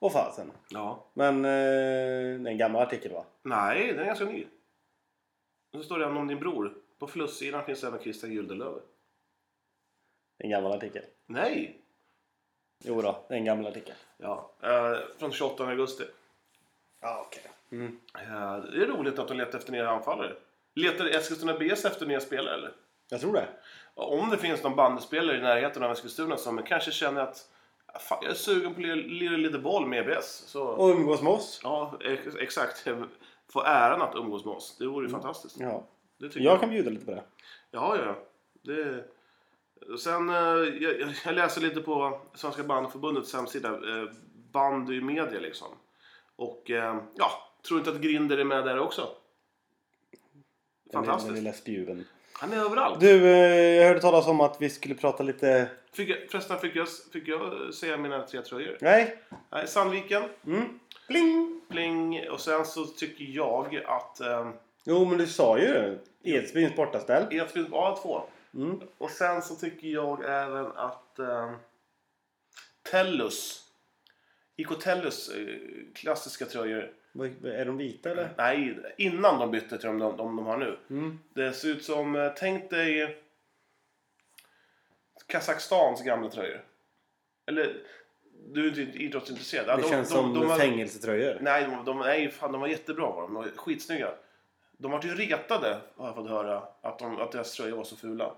Åh fasen. Ja. Men eh, det är en gammal artikel va? Nej, den är ganska ny. Och så står det även om din bror. På flussidan finns även Christian Gyldenlöv. En gammal artikel. Nej! Jo då, en gammal artikel. Ja, eh, från 28 augusti. Ja, okej. Mm. Eh, det är roligt att de letar efter nya anfallare. Letar Eskilstuna BS efter nya spelare eller? Jag tror det. Om det finns någon bandespelare i närheten av Eskilstuna som kanske känner att fan, jag är sugen på att lira- lira lite boll med EBS. Så, Och umgås med oss. Ja, ex- exakt. Få äran att umgås med oss. Det vore ju fantastiskt. Mm. Ja. Det tycker Jag kan bjuda lite på det. Ja, ja. Det... Sen, eh, jag, jag- jag läser lite på Svenska Bandförbundets hemsida, eh, bandy i media liksom. Och eh, ja, tror inte att Grinder är med där också. Den Fantastiskt. lilla spjuven. Han är överallt. Du, eh, jag hörde talas om att vi skulle prata lite... Fick jag, förresten, fick jag, fick jag säga mina tre tröjor? Nej? Nej, Sandviken, Mm. Pling! Pling och sen så tycker jag att eh, E Jo, men du sa ju det. Edsbyns bortaställ. Edsbyn A2. Mm. Och sen så tycker jag även att eh, Tellus, IK Tellus eh, klassiska tröjor. Vad- Är de vita eller? Nej, innan de bytte till de, de, de har nu. Mm. Det ser ut som, eh, tänk dig Kazakstans gamla tröjor. Eller, du är inte idrottsintresserad. Ja, Det känns som de, var- fängelsetröjor. Nej, de, de, nej fan, de var jättebra var de. de var skitsnygga. De var ju retade, har jag fått höra, att, de, att deras tröjor var så fula.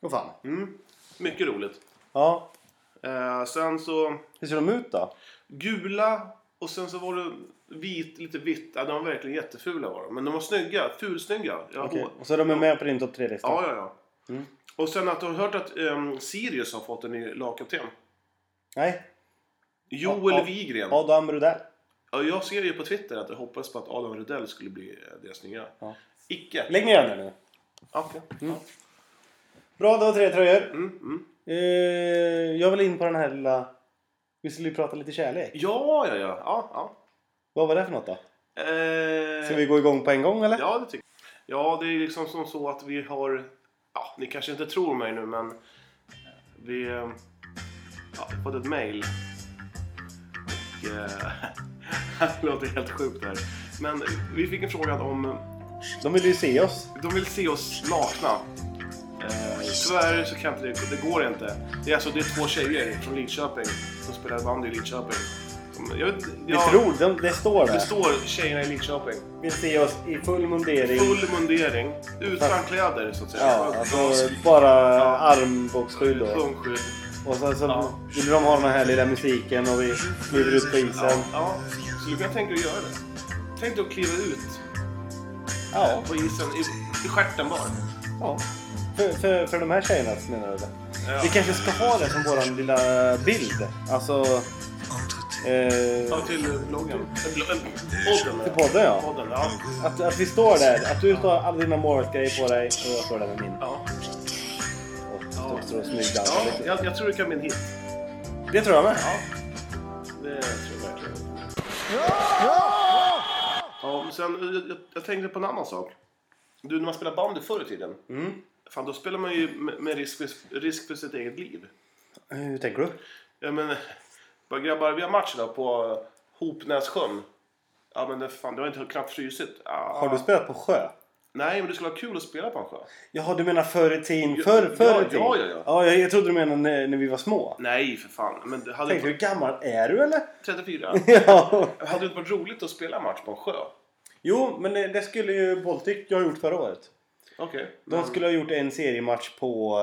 Vad fan. Mm. Mycket roligt. Ja. Eh, sen så Hur ser de ut då? gula och sen så var det vit, lite vitt. Ja, de var verkligen jättefula var de. Men de var snygga, fulsnygga. Jag Okej. hår- Och så de är med på din topp 3-lista? Ja, ja, ja. Mm. Och sen att du har hört att ehm, Sirius har fått en ny lagkapten. Nej? Joel Ja, ja. Wigren. Ja. Adam Rudell. Jag ser ju på Twitter att jag hoppades på att Adam Rudell skulle bli eh, deras nya. Ja. Icke. Lägg ner den nu. Ja, okej. Ja. Bra, det var tre tröjor. Mm, mm. Eh, jag vill in på den här lilla... Vi skulle ju prata lite kärlek. Ja, ja, ja. ja, ja. Vad var det för något då? Eh, Ska vi gå igång på en gång eller? Ja, det tycker jag. Ja, det är liksom som så att vi har... Ja, ni kanske inte tror mig nu, men vi eh, ja, fått ett mejl. Och... Eh, det låter helt sjukt det här. Men vi fick en fråga om... De vill ju se oss. De vill se oss nakna. Eh, tyvärr så kan inte det, det går inte. Det är alltså det är två tjejer från Lidköping som spelar bandy i Lidköping. De, jag vet, Vi jag, tror, de, det står det där. står tjejerna i Lidköping. Vill se oss i full mundering. Full mundering, utan kläder så att säga. Ja, alltså bara armbågsskydd då. Pungskydd. Och sen så Ja. vill de ha den här lilla musiken och vi kliver ut på Ja, isen. ja. Skulle kunna tänka dig att göra det. Tänk dig att kliva ut Ja. på isen i, i stjärten bara. ja. För, för, för de här tjejerna menar du? det? Ja. Vi kanske ska ha det som våran lilla bild. Alltså... Ja, Eh, till bloggen. Eh, blo- eh, Podden. till podden ja. Podden, ja. Att, att vi står där. Att du står alla dina målvaktsgrejer på dig och jag står där med min. ja. Och Ja. står- står och smygdansar ja lite. jag, jag tror det kan bli en hit. Det tror jag med. Ja. Det tror jag verkligen. Ja, men sen, jag, jag, jag tänkte på en annan sak. Du, när man spelar bandy förr i tiden. Mm. Fan, då spelar man ju med, med risk, för, risk för sitt eget liv. Hur tänker du? Ja men, bara grabbar, vi har match idag på Hopnässjön. Ja men det, fan, det har inte knappt frusit. Ah. Har du spelat på sjö? Nej men det skulle vara kul att spela på en sjö. Jaha, du menar förr i tiden? Ja, Förr, förr ja, i tiden? ja, ja, ja. jag, jag trodde du menade när, när vi var små. Nej för fan. Men det hade Tänkte, inte, hur gammal är du eller? 34. ja. hade det inte varit roligt att spela en match på en sjö? Jo, men det, det skulle ju Baltic jag gjort förra året. Okej. De skulle ha gjort en seriematch på,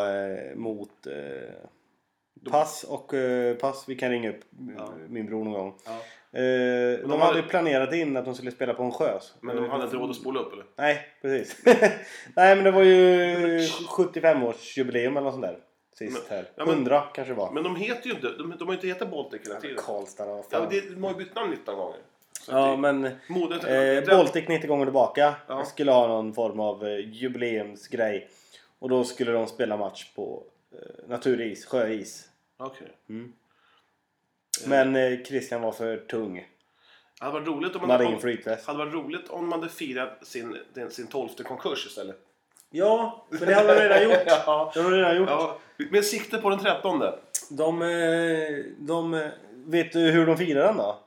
eh, mot eh, Pass och eh, Pass. Vi kan ringa upp Ja. min bror någon gång. Ja. Eh, de, de hade hade- ju planerat in att de skulle spela på en sjö. Eh, Men de hade inte råd att spola upp eller? Nej, precis. Nej, men det var ju 75-årsjubileum eller något sånt där. Sist Men- här. ja, men- 100 kanske det var. Men de heter ju inte, de, de har ju inte hetat Baltic hela tiden. Karlstad då. Ja, fan. det, de har ju bytt namn 19 gånger. Så Ja, att men det, modet, eh, den- Baltic 90 gånger tillbaka Ja. Jag skulle ha någon form av eh, jubileumsgrej. Och då skulle de spela match på eh, naturis, sjöis. Okej. Men eh, Christian var för tung. Det hade varit roligt om Han man hade hade, ingen om, flytväst. hade varit roligt om man hade firat sin, den- sin tolfte konkurs istället. Ja, men det hade de redan gjort. Ja. De hade redan gjort. Ja, med sikte på den trettonde. De, eh, de, eh, vet du hur de firar den då?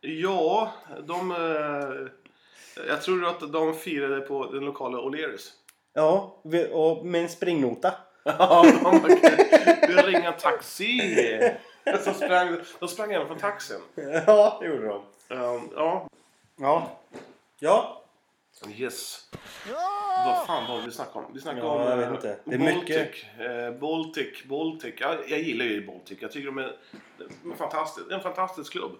Ja, de... eh, Jag tror att de firade på den lokala O'Learys. Ja, vi- och med en springnota. Ja, de bara, du ringa taxi. Så sprang, de sprang även från taxin. Ja, det gjorde de. Ehm, ja, Ja. Ja. yes. Vad fan var det vi snackade om? Vi snackade Ja, om jag eh, vet inte. Det är Baltic. mycket. eh, Baltic, Baltic. Ja, jag gillar ju Baltic. Jag tycker de är de är fantastisk, en fantastisk klubb.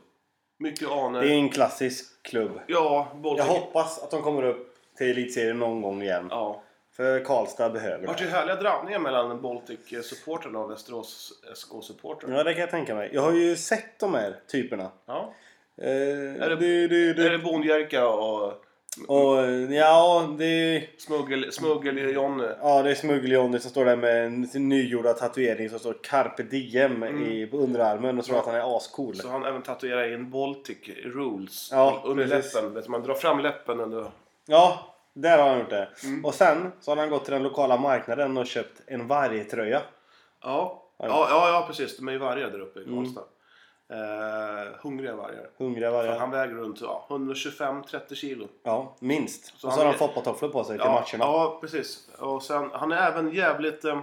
Mycket Det är anor. en klassisk klubb. Ja, Jag Baltic. hoppas att de kommer upp till elitserien någon gång igen. Ja. För Karlstad behöver Det har det. varit ju härliga drabbningar mellan Baltic-supportrarna och Västerås SK-supportrar. Ja, det kan jag tänka mig. Jag har ju sett de här typerna. Ja. Eh, är det- du, du, Är du. det Bondjerka och Och, eh, ja, det är, smuggel, smuggel-Jonny? ja, det är Smuggel-Johnny som står där med en nygjorda tatuering som står Carpe Diem i, på underarmen och tror att han är ascool. Mm. Så han även tatuerar in Baltic Rules Ja, under precis. läppen. Vet du, Man drar fram läppen under... Ja, där har han gjort det. Mm. Och sen så har han gått till den lokala marknaden och köpt en vargtröja. Ja, ja, ja, ja precis. De är ju vargar där uppe i Mm. Karlstad. Eh, hungriga vargar. Hungriga För vargar. Han väger runt ja, 125-30 kilo. Ja, minst. Så och så har han- han foppatofflor på sig till Ja, matcherna. ja, precis. Och sen, han är även jävligt... Eh,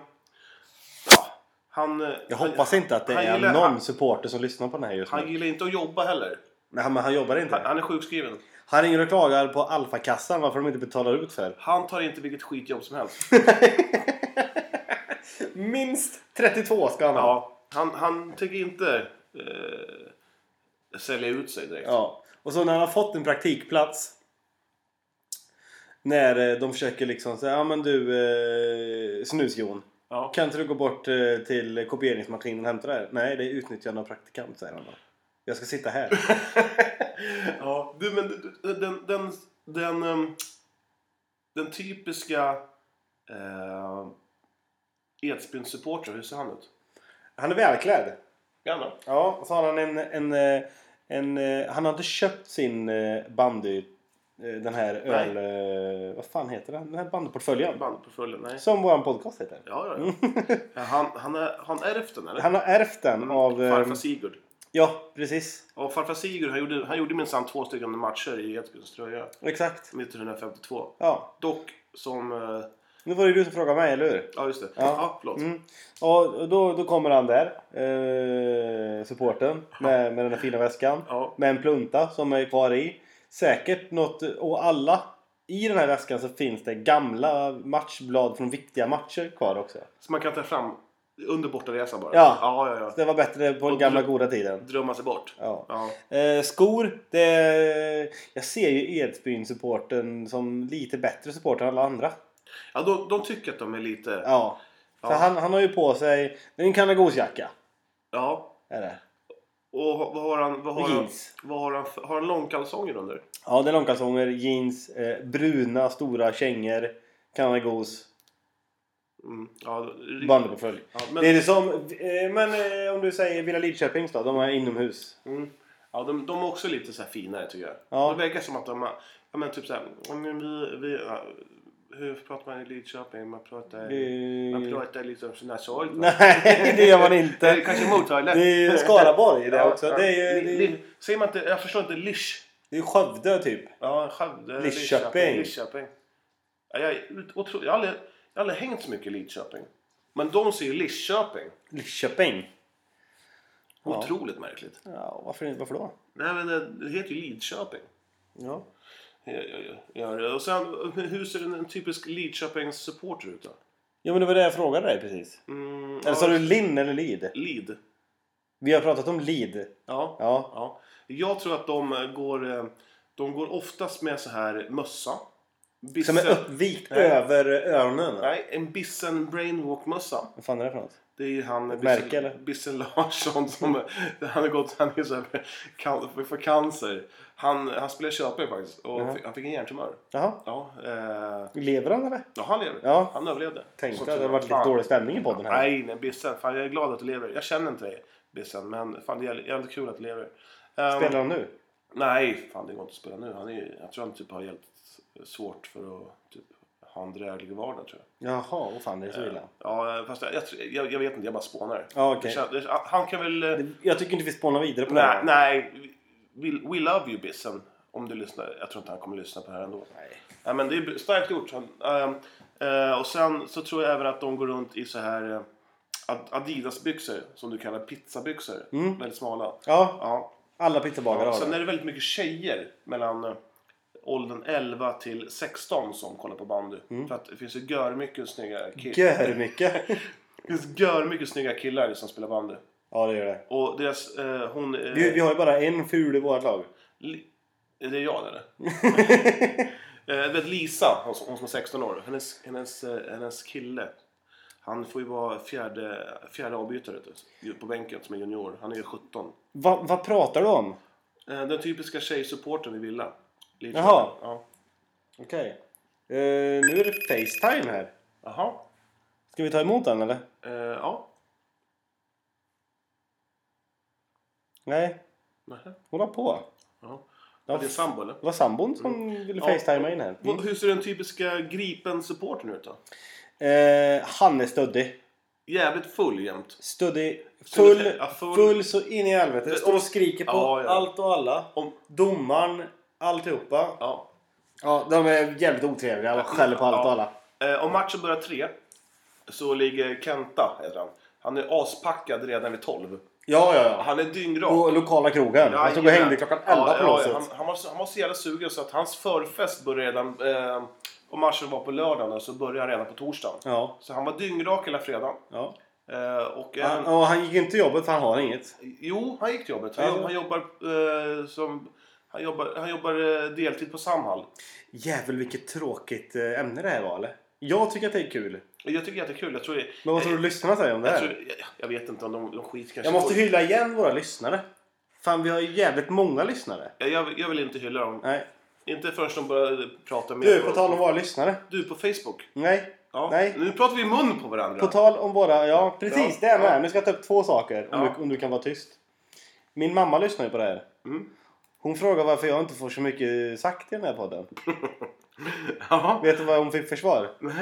ja, han, eh, Jag han- hoppas inte att det han är gillar- någon han- supporter som lyssnar på den här just Han nu. gillar inte att jobba heller. Nej, men han jobbar Han, inte. han är sjukskriven. Han ringer och klagar på Alfa-kassan varför de inte betalar ut för. Han tar inte vilket skitjobb som helst. Minst 32 ska han ha. Ja, han, han tänker inte eh, sälja ut sig direkt. Ja. Och så när han har fått en praktikplats. När eh, de försöker liksom säga, ja men du eh, snusjon. Ja. Kan inte du gå bort eh, till kopieringsmaskinen och hämta det här? Nej, det är utnyttjande av praktikant säger han då. Jag ska sitta här. Ja, du, men du- du- den, den, den, ehm, den typiska eh, Edsbyns-supporter, hur ser han ut? Han är välklädd. Gärna. Ja, och så har han en, en, eh, en, eh, Han har inte köpt sin eh, bandy... eh, Den här öl... eh, Vad fan heter den? Den här bandyportföljen. Bandportföljen? Nej. Som våran podcast heter. Ja, ja, ja. Han, han, är, han ärvt den eller? Han har ärvt den av... eh, Farfar Sigurd. Ja, precis. Och farfar Sigurd han gjorde, han gjorde minsann två stycken matcher i Edsbyns tröja Exakt. 1952. Ja. Dock som... eh, Nu var det du som frågade mig, eller hur? Ja, just det. Ja, Ja. förlåt. Mm. Och då, då kommer han där, eh, supporten med, med den här fina väskan. Ja. Med en plunta som är kvar i. Säkert något, och alla i den här väskan så finns det gamla matchblad från viktiga matcher kvar också. Så man kan ta fram under bortaresan bara? Ja. ja, ja. Så ja. det var bättre på den Och gamla dr- goda tiden. Drömma sig bort. Ja. Ja. Eh, skor, det, jag ser ju Edsbyn-supporten som lite bättre supporter än alla andra. Ja, de, de tycker att de är lite... Ja. Ja. För Ja. han, han har ju på sig en kanagosjacka. Är det? Och ha- vad har han... Vad har Och han, jeans. vad har han, för- har han långkalsonger under? Ja, det är långkalsonger, jeans, eh, bruna stora kängor, kanagos, Mm. Ja, riktigt- bandyportfölj. Ja, Det är men, det som, eh, men eh, om du säger Villa Lidköpings då, de är inomhus. mm. ja, de, de är också lite så här finare tycker jag. Ja. De verkar som att de har... Ja, men typ så här... ja, men Vi, vi, ja, hur pratar man i Lidköping? Man pratar... Man Eh, pratar liksom sådär sorgligt. va? nej, det gör man inte. Kanske mothörligt. Det är ju Skaraborg det också. Det är ju, Li- det är, li- Säger man inte... Jag förstår inte. Lish. det är Skövde typ. Ja, Skövde, Lidköping. Lidköping. Ja, jag, är ut- otro, jag, har aldrig, jag har aldrig hängt så mycket i Lidköping. Men de ser ju Lidköping. Lidköping. Ja. Otroligt märkligt. Ja, varför, inte- varför då? Nej, men det, det heter ju Lidköping. Ja. Ja, ja, ja, ja. Och sen, hur ser en, en typisk Lidköpings supporter ut då? ja, men det var det jag frågade dig precis. Mm, Eller sa du Linn eller Lid? Lid. Vi har pratat om Lid. Ja. ja. Ja. Jag tror att de eh, går, eh, de går oftast med så här mössa. Som är Bissen- uppvikt Nej. över öronen. Nej, en Bissen Brainwalk-mössa. Vad fan är det för något? Det är ju han Ett märke, eller? Bisse Larsson som han har gått han är så här, kan, för cancer. Han, han spelade i Köping faktiskt och Jaha. fick, han fick en hjärntumör. Jaha. Ja, eh, Lever han eller? ja han lever. Ja. Han överlevde. Tänkte Så att det hade tur. varit lite Fan. dålig stämning i podden här. Nej, nej Bissen. Fan, jag är glad att du lever. Jag känner inte dig Bissen, men fan det är jävligt kul att du lever. Ehm, Spelar han nu? Nej, fan det går inte att spela nu. Han är, ju- jag tror han typ har jävligt svårt för att typ, ha en dräglig vardag tror jag. Jaha, vad fan är det så illa? Ja, fast jag, jag, jag, jag vet inte, jag bara spånar. Ja, okej. Det kän- det- Han kan väl... eh, Jag tycker inte vi spånar vidare på det Nej, här. nej. We, we love you Bissen. Om du lyssnar. Jag tror inte han kommer lyssna på det här ändå. Nej. Nej men det är starkt gjort. Han, ehm, Eh, och sen så tror jag även att de går runt i så här eh, Ad- Adidas-byxor som du kallar pizzabyxor. Väldigt smala. Ja, Ja. alla pizzabagare har Sen Mm. det. är det väldigt mycket tjejer mellan eh, åldern 11 till 16 som kollar på bandy. För att det finns ju gör mycket snygga killar. Mm. Gör mycket. Det finns gör mycket snygga killar som spelar bandy. Ja, det gör det. Och deras, eh, hon... Eh, Vi, vi har ju bara en ful i vårt lag. Li- är det jag eller? Eh, Jag vet Lisa, hon som- hon som är 16 år. Hennes, hennes, eh, hennes kille. Han får ju vara fjärde, fjärde avbytare ute på bänken som är junior. Han är ju 17. Va, vad pratar du om? Eh, Den typiska tjejsupporten vi Villa. Lite Jaha. så. Ja. Okej. Eh, nu är det Facetime här. Jaha. Ska vi ta emot den eller? Eh, ja. Nej, Nähä. hon har på. Ja. Ja, Var det sambo eller? Det var sambon som ville Ja. facetima in här. Mm. Vad- Hur ser den typiska Gripen-supporten ut då? Eh, han är stöddig. Jävligt full jämt. Stöddig. Skulle Full, säga, full. full. så in i helvete. Står och skriker på Ja, ja. allt och alla. Om, Domaren, alltihopa. ja. Ja, de är jävligt otrevliga och skäller på allt och alla. Eh, om matchen börjar tre så ligger Kenta, heter han. Han är aspackad redan vid 12. Ja, ja, ja. Han är dyngrak. På lokala krogen. han stod och Jajamän. hängde klockan 11 på något han, sätt. han, var så, han var så jävla sugen så att hans förfest började redan... Eh, om matchen var på lördagen så började han redan på torsdagen. Ja, Så han var dyngrak hela fredagen. ja. Eh, och, eh, Han, och han gick inte till jobbet för han har inget. Jo, han gick till jobbet. Han, jobb, han jobbar eh, som... Han jobbar, han jobbar eh, deltid på Samhall. Jävel vilket tråkigt eh, ämne det här var eller? Jag tycker att det är kul. Och Jag tycker att det är kul. Jag tror... Jag, Men vad tror du lyssnarna säger om det här? tror Eh, jag, jag vet inte om de, de skit kanske... Jag måste på- hylla igen våra lyssnare. Fan, vi har ju jävligt många lyssnare. jag, Eh, jag, vill- jag vill inte hylla dem. Nej. Inte förrän de börjar prata med Du, på tal om våra lyssnare. Du på Facebook? Nej. Ja. Nej. Nu pratar vi i mun på varandra. På tal om våra... Ja, precis. Ja, Det är ja. med. Nu ska jag ta upp två saker. Om, Ja. du, om du kan vara tyst. Min mamma lyssnar ju på det här. Mm. Hon frågar varför jag inte får så mycket sagt i den här podden. Jaha. Vet du vad hon fick för svar? Nej.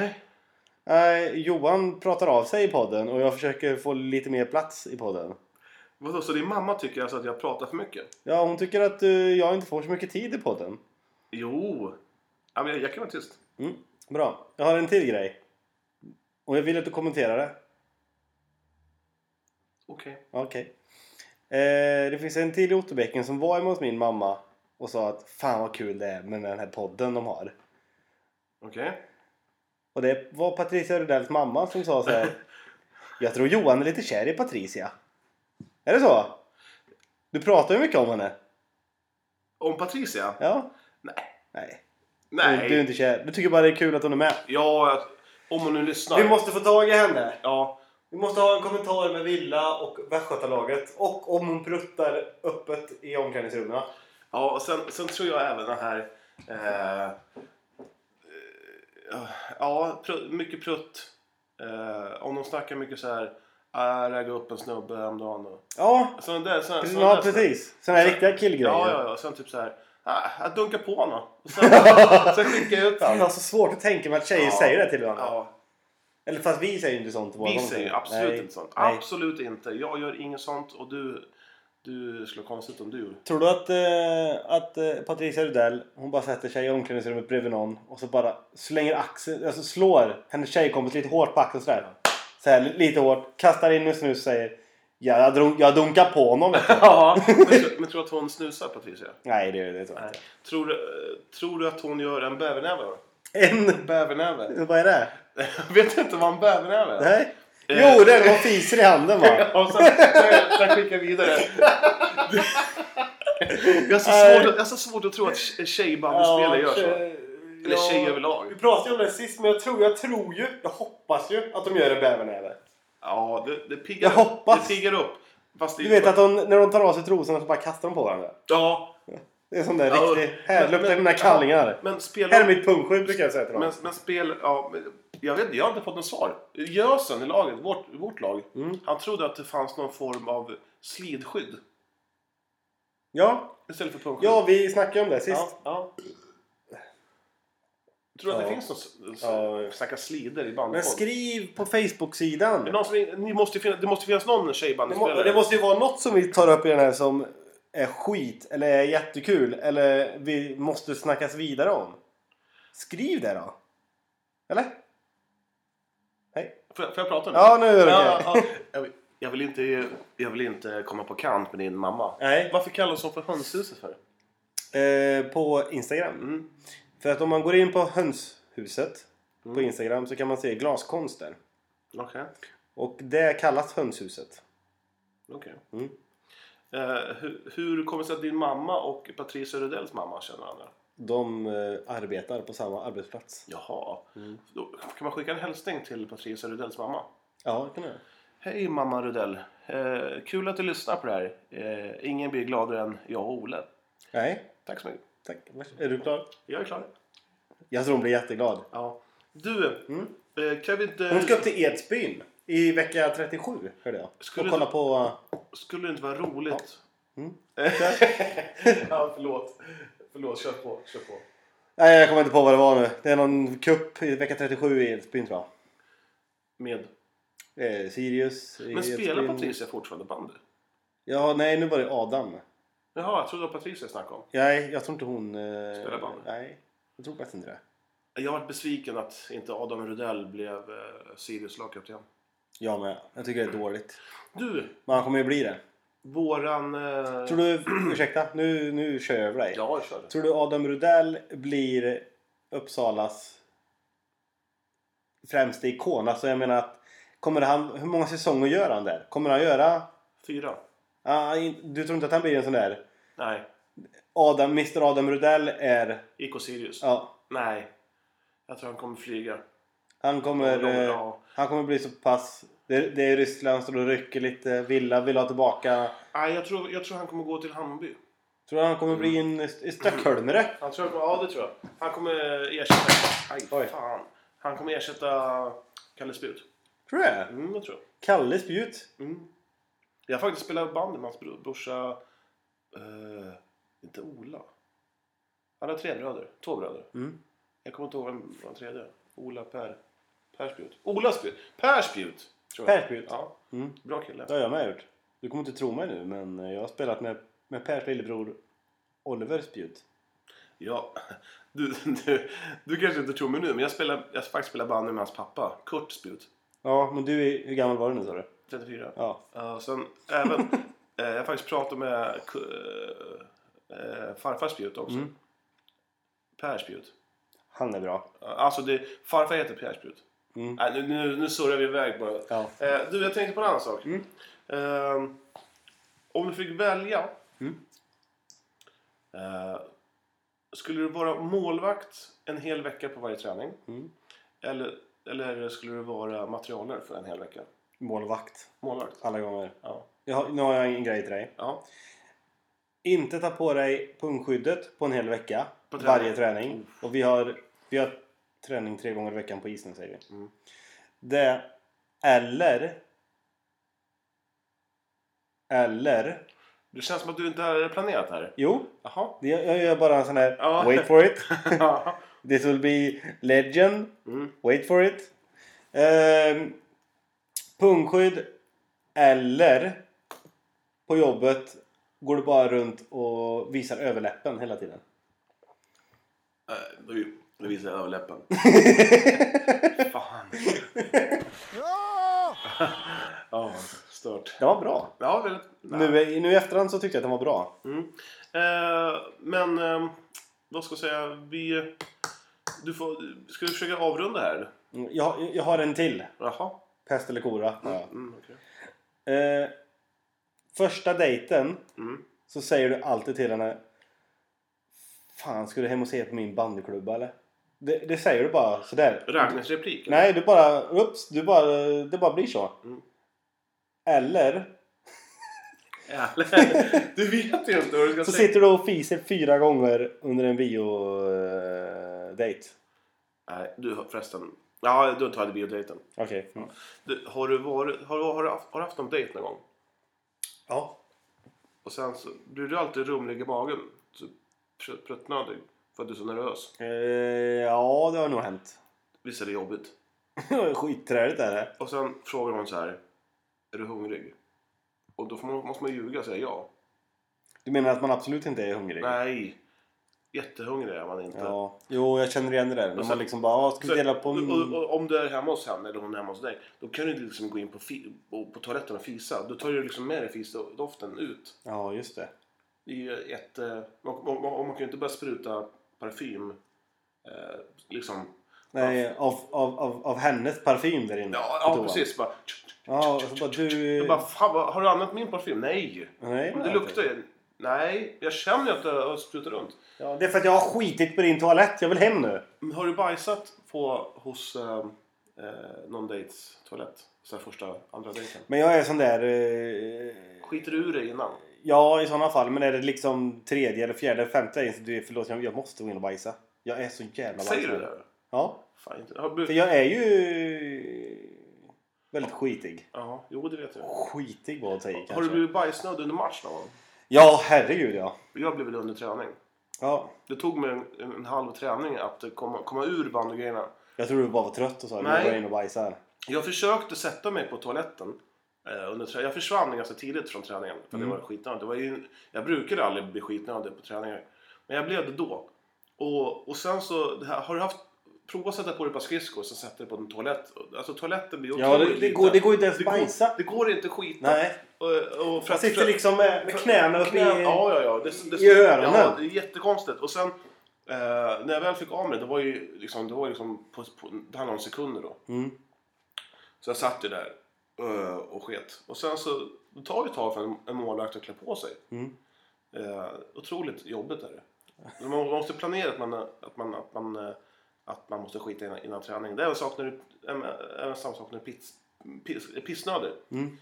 Nej, Eh, Johan pratar av sig i podden och jag försöker få lite mer plats i podden. Vadå, så din mamma tycker alltså att jag pratar för mycket? Ja, hon tycker att eh, jag inte får så mycket tid i podden. Jo. Ja, men jag, jag kan vara tyst. Mm. Bra. Jag har en till grej. Och jag vill att du kommenterar det. Okej. Okej. Eh, det finns en till i Otterbäcken som var hemma hos min mamma och sa att fan vad kul det är med den här podden de har. Okej. Och det var Patricia Rudells mamma som sa så här. Jag tror Johan är lite kär i Patricia. Är det så? Du pratar ju mycket om henne. Om Patricia? Ja? Nej. Nej. Nej. Du, du är inte kär. Du tycker bara det är kul att hon är med. Ja, att- om hon nu lyssnar. måste få tag i henne. Ja. Vi måste ha en kommentar med Villa och Västgötalaget. Och om hon pruttar öppet i omklädningsrummen. Ja, och sen, sen tror jag även den här... Eh, eh, ja, pr- mycket prutt. Eh, om de snackar mycket så här... Äh, ragga upp en snubbe häromdagen. och- Ja, Sådana där, sådana, precis. sådana där Ja, precis. Såna här riktiga killgrejer. Ja, ja, ja. Sen typ så här. Ah, jag dunkar på honom. Och sen, sen skickar jag ut Fan, honom. jag har så alltså svårt att tänka mig att tjejer Ja. säger det till varandra. Ja, Eller fast vi säger ju inte sånt till våra vi kompisar. säger ju absolut Nej. inte sånt. Nej. Absolut inte. Jag gör inget sånt och du, du slår konstigt om du gjorde. Tror du att, eh, att eh, Patricia Rudell hon bara sätter sig i omklädningsrummet bredvid någon och så bara slänger axeln, alltså slår hennes tjejkompis lite hårt på axeln sådär. Så här, lite hårt, kastar in en snus och säger Ja, jag, drog, jag dunkar på honom vet du. Ja. Men, tro- men tror du att hon snusar Patricia? Nej, det, det tror jag inte. Tror du, eh, tror du att hon gör en bävernäve? då? En... Bävernäve? Vad är det? Jag vet inte vad en bävernäve är. Nej? Jo, det är när man fiser i handen va? Ja, och sen, sen, sen skickar jag vidare. Jag har, så svårt, att- jag har så svårt att tro att tje- tjejbandyspelare gör så. Eller tjejer överlag. Vi pratade ju om det sist, men jag tror, jag tror ju, jag hoppas ju att de gör en bävernäve. Ja, det, det piggar Jag upp. hoppas. Det piggar upp. Fast det, Du vet att de, när de tar av sig trosorna så bara kastar de på varandra. Ja, Det är sån där Ja, riktig men- men- härlukt med mina kallingar. men Här är spela... mitt pungskydd brukar jag säga till dem. Men, men spel... Ja, men, jag vet jag har inte fått något svar. Gösen i laget, vårt, vårt lag, Mm. han trodde att det fanns någon form av slidskydd Ja, istället för pungskydd. ja, vi snackade ju om det sist. ja, ja. Tror du att det Ja. finns något Ja. ja. snacka slider i Men bandypodd? skriv på Är det Facebook-sidan. någon som, ni måste ju finna, det måste finnas någon Det, må, tjejbandyspelare. det måste ju vara något som vi tar upp i den här som är skit eller är jättekul eller vi måste snackas vidare om. Skriv det då. Eller? Får jag, får jag prata nu? Ja, nu är det okej. ja, jag, vill, jag, vill inte, jag vill inte komma på kant med din mamma. Nej. Varför kallas hon för hönshuset för? Eh, på Instagram. Mm. För att om man går in på hönshuset Mm. på Instagram så kan man se glaskonst där. Okej. Och det kallas hönshuset. okej. Mm. Eh, hur, hur kommer det sig att din mamma och Patricia Rudells mamma känner varandra? De eh, arbetar på samma arbetsplats. Jaha. Mm. Då, kan man skicka en hälsning till Patricia Rudells mamma? Ja, det kan jag göra. Hej mamma Rudell. Eh, kul att du lyssnar på det här. Eh, ingen blir gladare än jag och Ole. Nej, Tack så mycket. tack. Vars- Är du klar? Jag är klar. Jag tror hon blir jätteglad. Ja. Du, eh, kan vi inte... Hon ska upp till Edsbyn i vecka 37, hörde jag. Skulle och kolla du- på... Skulle det inte vara roligt? Mm. ja, förlåt. Förlåt, kör på. Kör på. Nej, jag kommer inte på vad det var nu. Det är någon kupp i vecka 37 i Edsbyn, tror jag. Med. Eh, Sirius i Men spelar Edsbyn. Patricia fortfarande bandy? Ja, nej, nu var det Adam. Jaha, jag trodde det var Patricia jag snackade om. Nej, jag tror inte hon... Eh, Spelar bandy? Nej, jag tror faktiskt inte det. Jag varit besviken att inte Adam Rudell blev eh, Sirius lagkapten. Jag med. Jag tycker det är dåligt. Du, Men han kommer ju bli det. våran... Eh... Tror du... ursäkta, nu, nu kör jag över dig. Ja, kör. Tror du Adam Rudell blir Uppsalas främsta ikon? Alltså jag menar att kommer han, hur många säsonger gör han där? Kommer han göra... Fyra? Ah, in- du tror inte att han blir en sån där Nej. Adam, Mr Adam Rudell är... IK Sirius? Ja, Nej. Jag tror han kommer flyga. han kommer, Ja, ja. eh, han kommer bli så pass... Det, det är Ryssland så då rycker lite. Villa vill ha tillbaka. Nej, jag tror, jag tror han kommer gå till Hammarby. Tror du han kommer bli Mm. en st- stockholmare? Han tror, ja, det tror jag. Han kommer ersätta... Aj, Oj. fan. Han kommer ersätta Kalle Spjut. Tror du det? Mm, jag tror jag. Kalle Spjut? Jag har faktiskt spelat bandy med hans bro- brorsa... eh, inte Ola. Han har tre bröder. Två bröder. Mm. Jag kommer inte ihåg vem vem den tredje är. Ola, Per... Per Spjut. Ola Spjut! Per Spjut! tror jag. Per Spjut? Ja. Mm. Bra kille. Det har jag med gjort. Du kommer inte tro mig nu, men jag har spelat med, med Pers lillebror Oliver Spjut. Ja. Du, du, du kanske inte tror mig nu, men jag spelar, jag har faktiskt spelat bandy med hans pappa. Kurt Spjut. Ja, men du är... Hur gammal var du nu sa du? 34. Ja. Ja, sen även... eh, jag har faktiskt pratat med ku- eh, farfar Spjut också. Mm. Per Spjut. Han är bra. Alltså det, farfar heter Pierre Sprut. Mm. Nej, nu, nu, nu surrar vi iväg bara. Ja. Eh, du, jag tänkte på en annan sak. Mm. Eh, om du fick välja. Mm. Eh, skulle du vara målvakt en hel vecka på varje träning? Mm. Eller, eller skulle du vara materialare för en hel vecka? Målvakt. Målvakt? Alla gånger. Ja. Jag har, nu har jag en grej till dig. ja. Inte ta på dig pungskyddet på en hel vecka. På träning. varje träning. Och vi har, vi har träning tre gånger i veckan på isen säger vi. Mm. Det... Eller... Eller... Det känns som att du inte har planerat det här. Jo, Jaha. det- jag gör bara en sån här... Ja. Wait for it. Ja. This will be legend. Mm. Wait for it. Um, pungskydd eller på jobbet går du bara runt och visar överläppen hela tiden. Eh, Nu nu visar jag överläppen. Fan. Ja, stört. Det var bra. Ja, väldigt. Nej. Nu, nu i efterhand så tyckte jag att den var bra. Mm. Eh, men eh, vad ska jag säga? Vi, du får, ska vi försöka avrunda här? Mm, Jag, jag har en till. Jaha. Pest eller kora. Ja. Mm, okej. Eh, första dejten Mm. så säger du alltid till henne Fan, ska du hem och se på min bandyklubba eller? Det, det säger du bara sådär. Ragnars replik? eller? Nej, du bara... Ups, du bara, det bara blir så. Mm. Eller Eller? Du vet ju inte vad du ska så säga. sitter du och fiser fyra gånger under en eh, bio-date. Nej, du har- förresten. Ja, du tar det biodejten. Okej. Mm. Du, har, du varit, har, du- har, du haft, har du haft någon dejt någon gång? Ja. Och sen så blir du alltid rumlig i magen. Så pr- Pruttnödig. För att du är så nervös. Eh, ja, det har nog hänt. Visst är det jobbigt? Skitträligt är det. Och sen frågar hon så här. Är du hungrig? Och då får man, måste man ljuga och säga ja. Du menar att man absolut inte är hungrig? Nej. Jättehungrig är man inte. Ja. Jo, jag känner igen det där. När sen- man liksom bara, "Ah, ska vi dela på... Alltså, och, och, och, om du är hemma hos henne eller hon är hemma hos dig. Då kan du inte liksom gå in på, fi- och- på toaletten och fisa. Då tar du liksom med dig fisdoften ut. Ja, just det. Det är ju ett... eh, Man, man, man, man kan ju inte börja spruta parfym. Eh, Mm. liksom. Nej, av, av, av, av hennes parfym där inne. Ja, på ja toan. precis. Bara, Ja, och så bara du... jag bara, fan, vad, har du använt min parfym? Nej! Nej, Men det luktar ju... Nej, jag känner ju att det har sprutat runt. Ja, det är för att jag har skitit på din toalett. Jag vill hem nu. Men Har du bajsat på, hos eh, eh, någon dejts toalett? Så här första, andra dejten? Men jag är sån där... Eh, Skiter du ur dig innan? ja, i såna fall. Men är det liksom tredje eller fjärde eller femte dejten så du är förlåt, jag jag måste gå in och bajsa. Jag är så jävla Säger du bajsnödig. det? Ja. Fan inte. Har För du... jag är ju... Väldigt skitig. Ja, jo det vet jag. Skitig var att ta i kanske. Har du blivit bajsnödig under match någon gång? Ja, herregud ja. Jag blev det under träning. Ja. Det tog mig en, en halv träning att komma, komma ur bandygrejerna. Jag tror du bara var trött och sa Nej. nu går jag in och bajsar. Jag försökte sätta mig på toaletten. Eh, under trä- jag försvann ganska tidigt från träningen. För det Mm. var skitnödigt. Det var ju, jag brukade aldrig bli skitnödig på träningar. Men jag blev det då. Och, och sen så, det här, har du haft Prova att sätta på dig ett par skridskor så sätter du på en toalett. Alltså toaletten blir Ja, det- otroligt det går- liten. det går inte ens Det går- bajsa. Det går inte att skita. Nej. Och, och för Jag att- sitter liksom med, med knäna uppe i... Knä- ja, ja, ja. Det, det, i öronen. Ja, det är jättekonstigt. Och sen eh, när jag väl fick av mig det var ju liksom, det var ju liksom på, på, det handlade om sekunder då. Mm. Så jag satt ju där eh, och sket. Och sen så det tar ju ett tag för en, en målvakt att klä på sig. Mm. Eh, otroligt jobbigt är det. Men Man man måste planera att man, eh, att man, att man, eh, att man måste skita innan, innan träning. Det är en sak när du, en, en, samma sak när du är piss, piss, är pissnödig. Mm.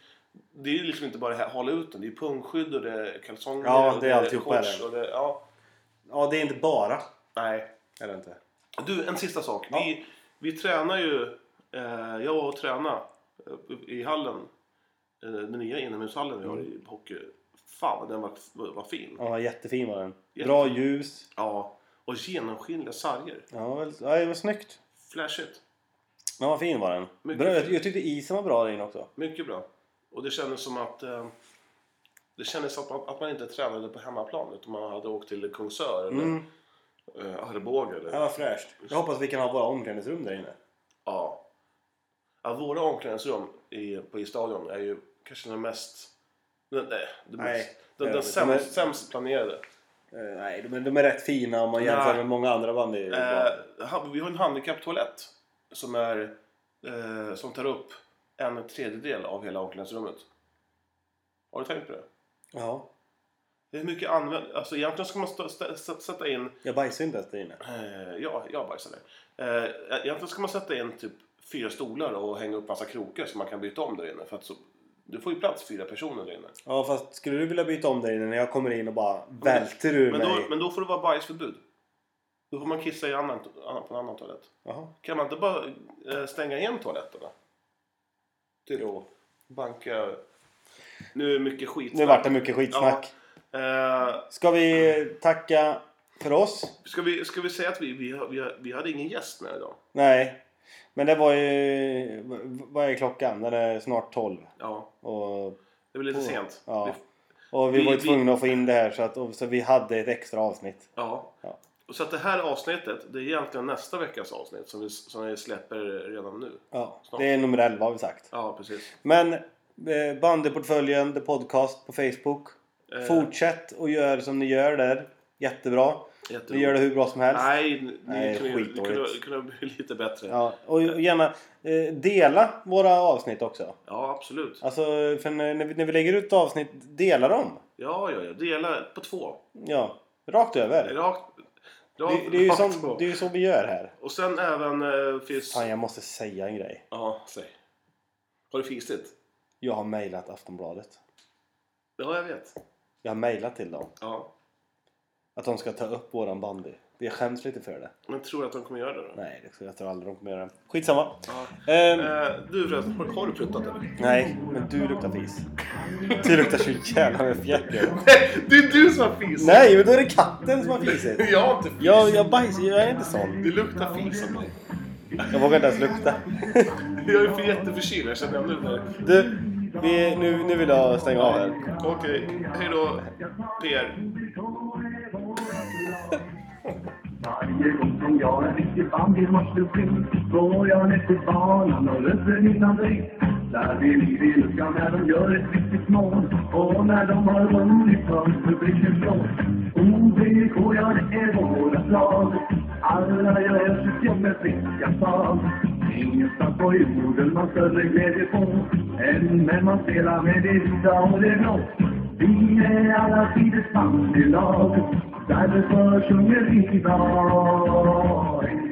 Det är ju liksom inte bara det här, hålla ut den. Det är ju pungskydd och det är kalsonger Ja, och det är alltihopa shorts är det. och det. Ja, Ja, det är inte bara. nej. Är det inte? Du, en sista sak. Ja. Vi, vi tränar ju, eh, jag och träna eh, i hallen, eh, den nya inomhushallen vi har i hockey. Fan, den var, var, var fin. Mm. Ja, jättefin var den. Bra ljus. Ja, och genomskinliga sarger. Ja, väl- ja, det var snyggt. Flashigt. Ja, vad fin var den. Mycket Bra, jag, fin. jag tyckte isen var bra där inne också. Mycket bra. Och det kändes som att eh, det kändes som att man, att man inte tränade på hemmaplan utan man hade åkt till Kungsör eller Mm. eh, Arboga. Eller, Det var fräscht. Jag hoppas vi kan ha våra omklädningsrum där inne. Ja. ja våra omklädningsrum i, på i stadion är ju kanske den mest... Den, nej, den, Nej, mest, det den, är den det. sämst, De är- sämst planerade. Eh, nej, de är, de är rätt fina om man jämför Nej. med många andra band. i- Eh, ha- vi har en handikapptoalett som, är, eh, som tar upp en tredjedel av hela omklädningsrummet. Har du tänkt på det? Ja, Det är mycket använd... Alltså egentligen ska man stå, stä- s- sätta in... jag bajsar inte ens där inne. Eh, ja, jag bajsade. Eh, egentligen ska man sätta in typ fyra stolar och hänga upp massa krokar så man kan byta om där inne. För att så, du får ju plats fyra personer där inne. Ja, fast skulle du vilja byta om där inne när jag kommer in och bara välter ur Men mig? då, men då får det vara bajsförbud. Då får man kissa i annan, annan- på en annan toalett. Jaha. Kan man inte bara eh, stänga igen toaletterna? Typ Jo. banka... Nu är det mycket skit. Nu vart det mycket skitsnack. Ja. Eh, Ska vi tacka för oss? ska, vi, ska vi säga att vi, vi, har- vi, har- vi hade ingen gäst med idag? Nej. Men det var ju... v- Vad är klockan? Den är snart 12. Ja, Och, det blir lite Oh. sent. Ja. Vi- och vi, Vi- var ju vi- tvungna att få in det här så, att, och, så vi hade ett extra avsnitt. Ja. Ja. Och Så att det här avsnittet, det är egentligen nästa veckas avsnitt som vi, som vi släpper redan nu. Ja, Snart. det är nummer 11 har vi sagt. Ja, precis. Men eh, bandyportföljen, The Podcast på Facebook. Eh. Fortsätt och gör som ni gör där. Jättebra. Ni gör det hur bra som helst. Nej, ni Nej, kunde, ju- skitdåligt. kunde, kunde bli lite bättre. Ja, Ja, och gärna eh, dela våra avsnitt också. absolut. Alltså, för när när vi, när vi lägger ut avsnitt, dela dem. Ja, ja, ja. Dela på två. Ja, rakt över. Rakt, rakt, Det, det, är ju rakt som, på. det är ju så vi gör här. Och sen även eh, finns... Fan, jag måste säga en grej. Ja, säg. Har du fisit? Jag har mejlat Aftonbladet. Ja, jag vet. Jag har mejlat till dem Ja. att de ska ta upp våran bandy. Jag skäms lite för det. Men tror du att de kommer göra det då? Nej, det- jag tror aldrig de kommer göra det. Skitsamma. Ja. Ehm, Eh, du förresten, har, har du pruttat eller? nej, men du luktar fis. Du luktar så jävla med fjäril. det är du som har fisit! Nej, men då är det katten som har fisit. Jag har inte fisit. Jag, jag bajsar, jag är inte sån. Det luktar fis av mig. Jag vågar inte ens lukta. Jag är för jätteförkyld, jag känner ändå det. Du, vi, nu, nu vill jag stänga av här. Okej, hej då PR. Men jag är riktig bandy måste bli. Går jag ner till banan och löser innan dig. Där vi ligger i luckan när de gör ett riktigt mål. Och när de har vunnit hörs publiken slå. OBK, ja det är vårat lag. Alla gör sitt jobb med friska tag. Ingenstans på jorden man större glädje på. Än när man spelar med det vita och det blå. Vi är alla tiders bandylag, därför sjunger vi idag.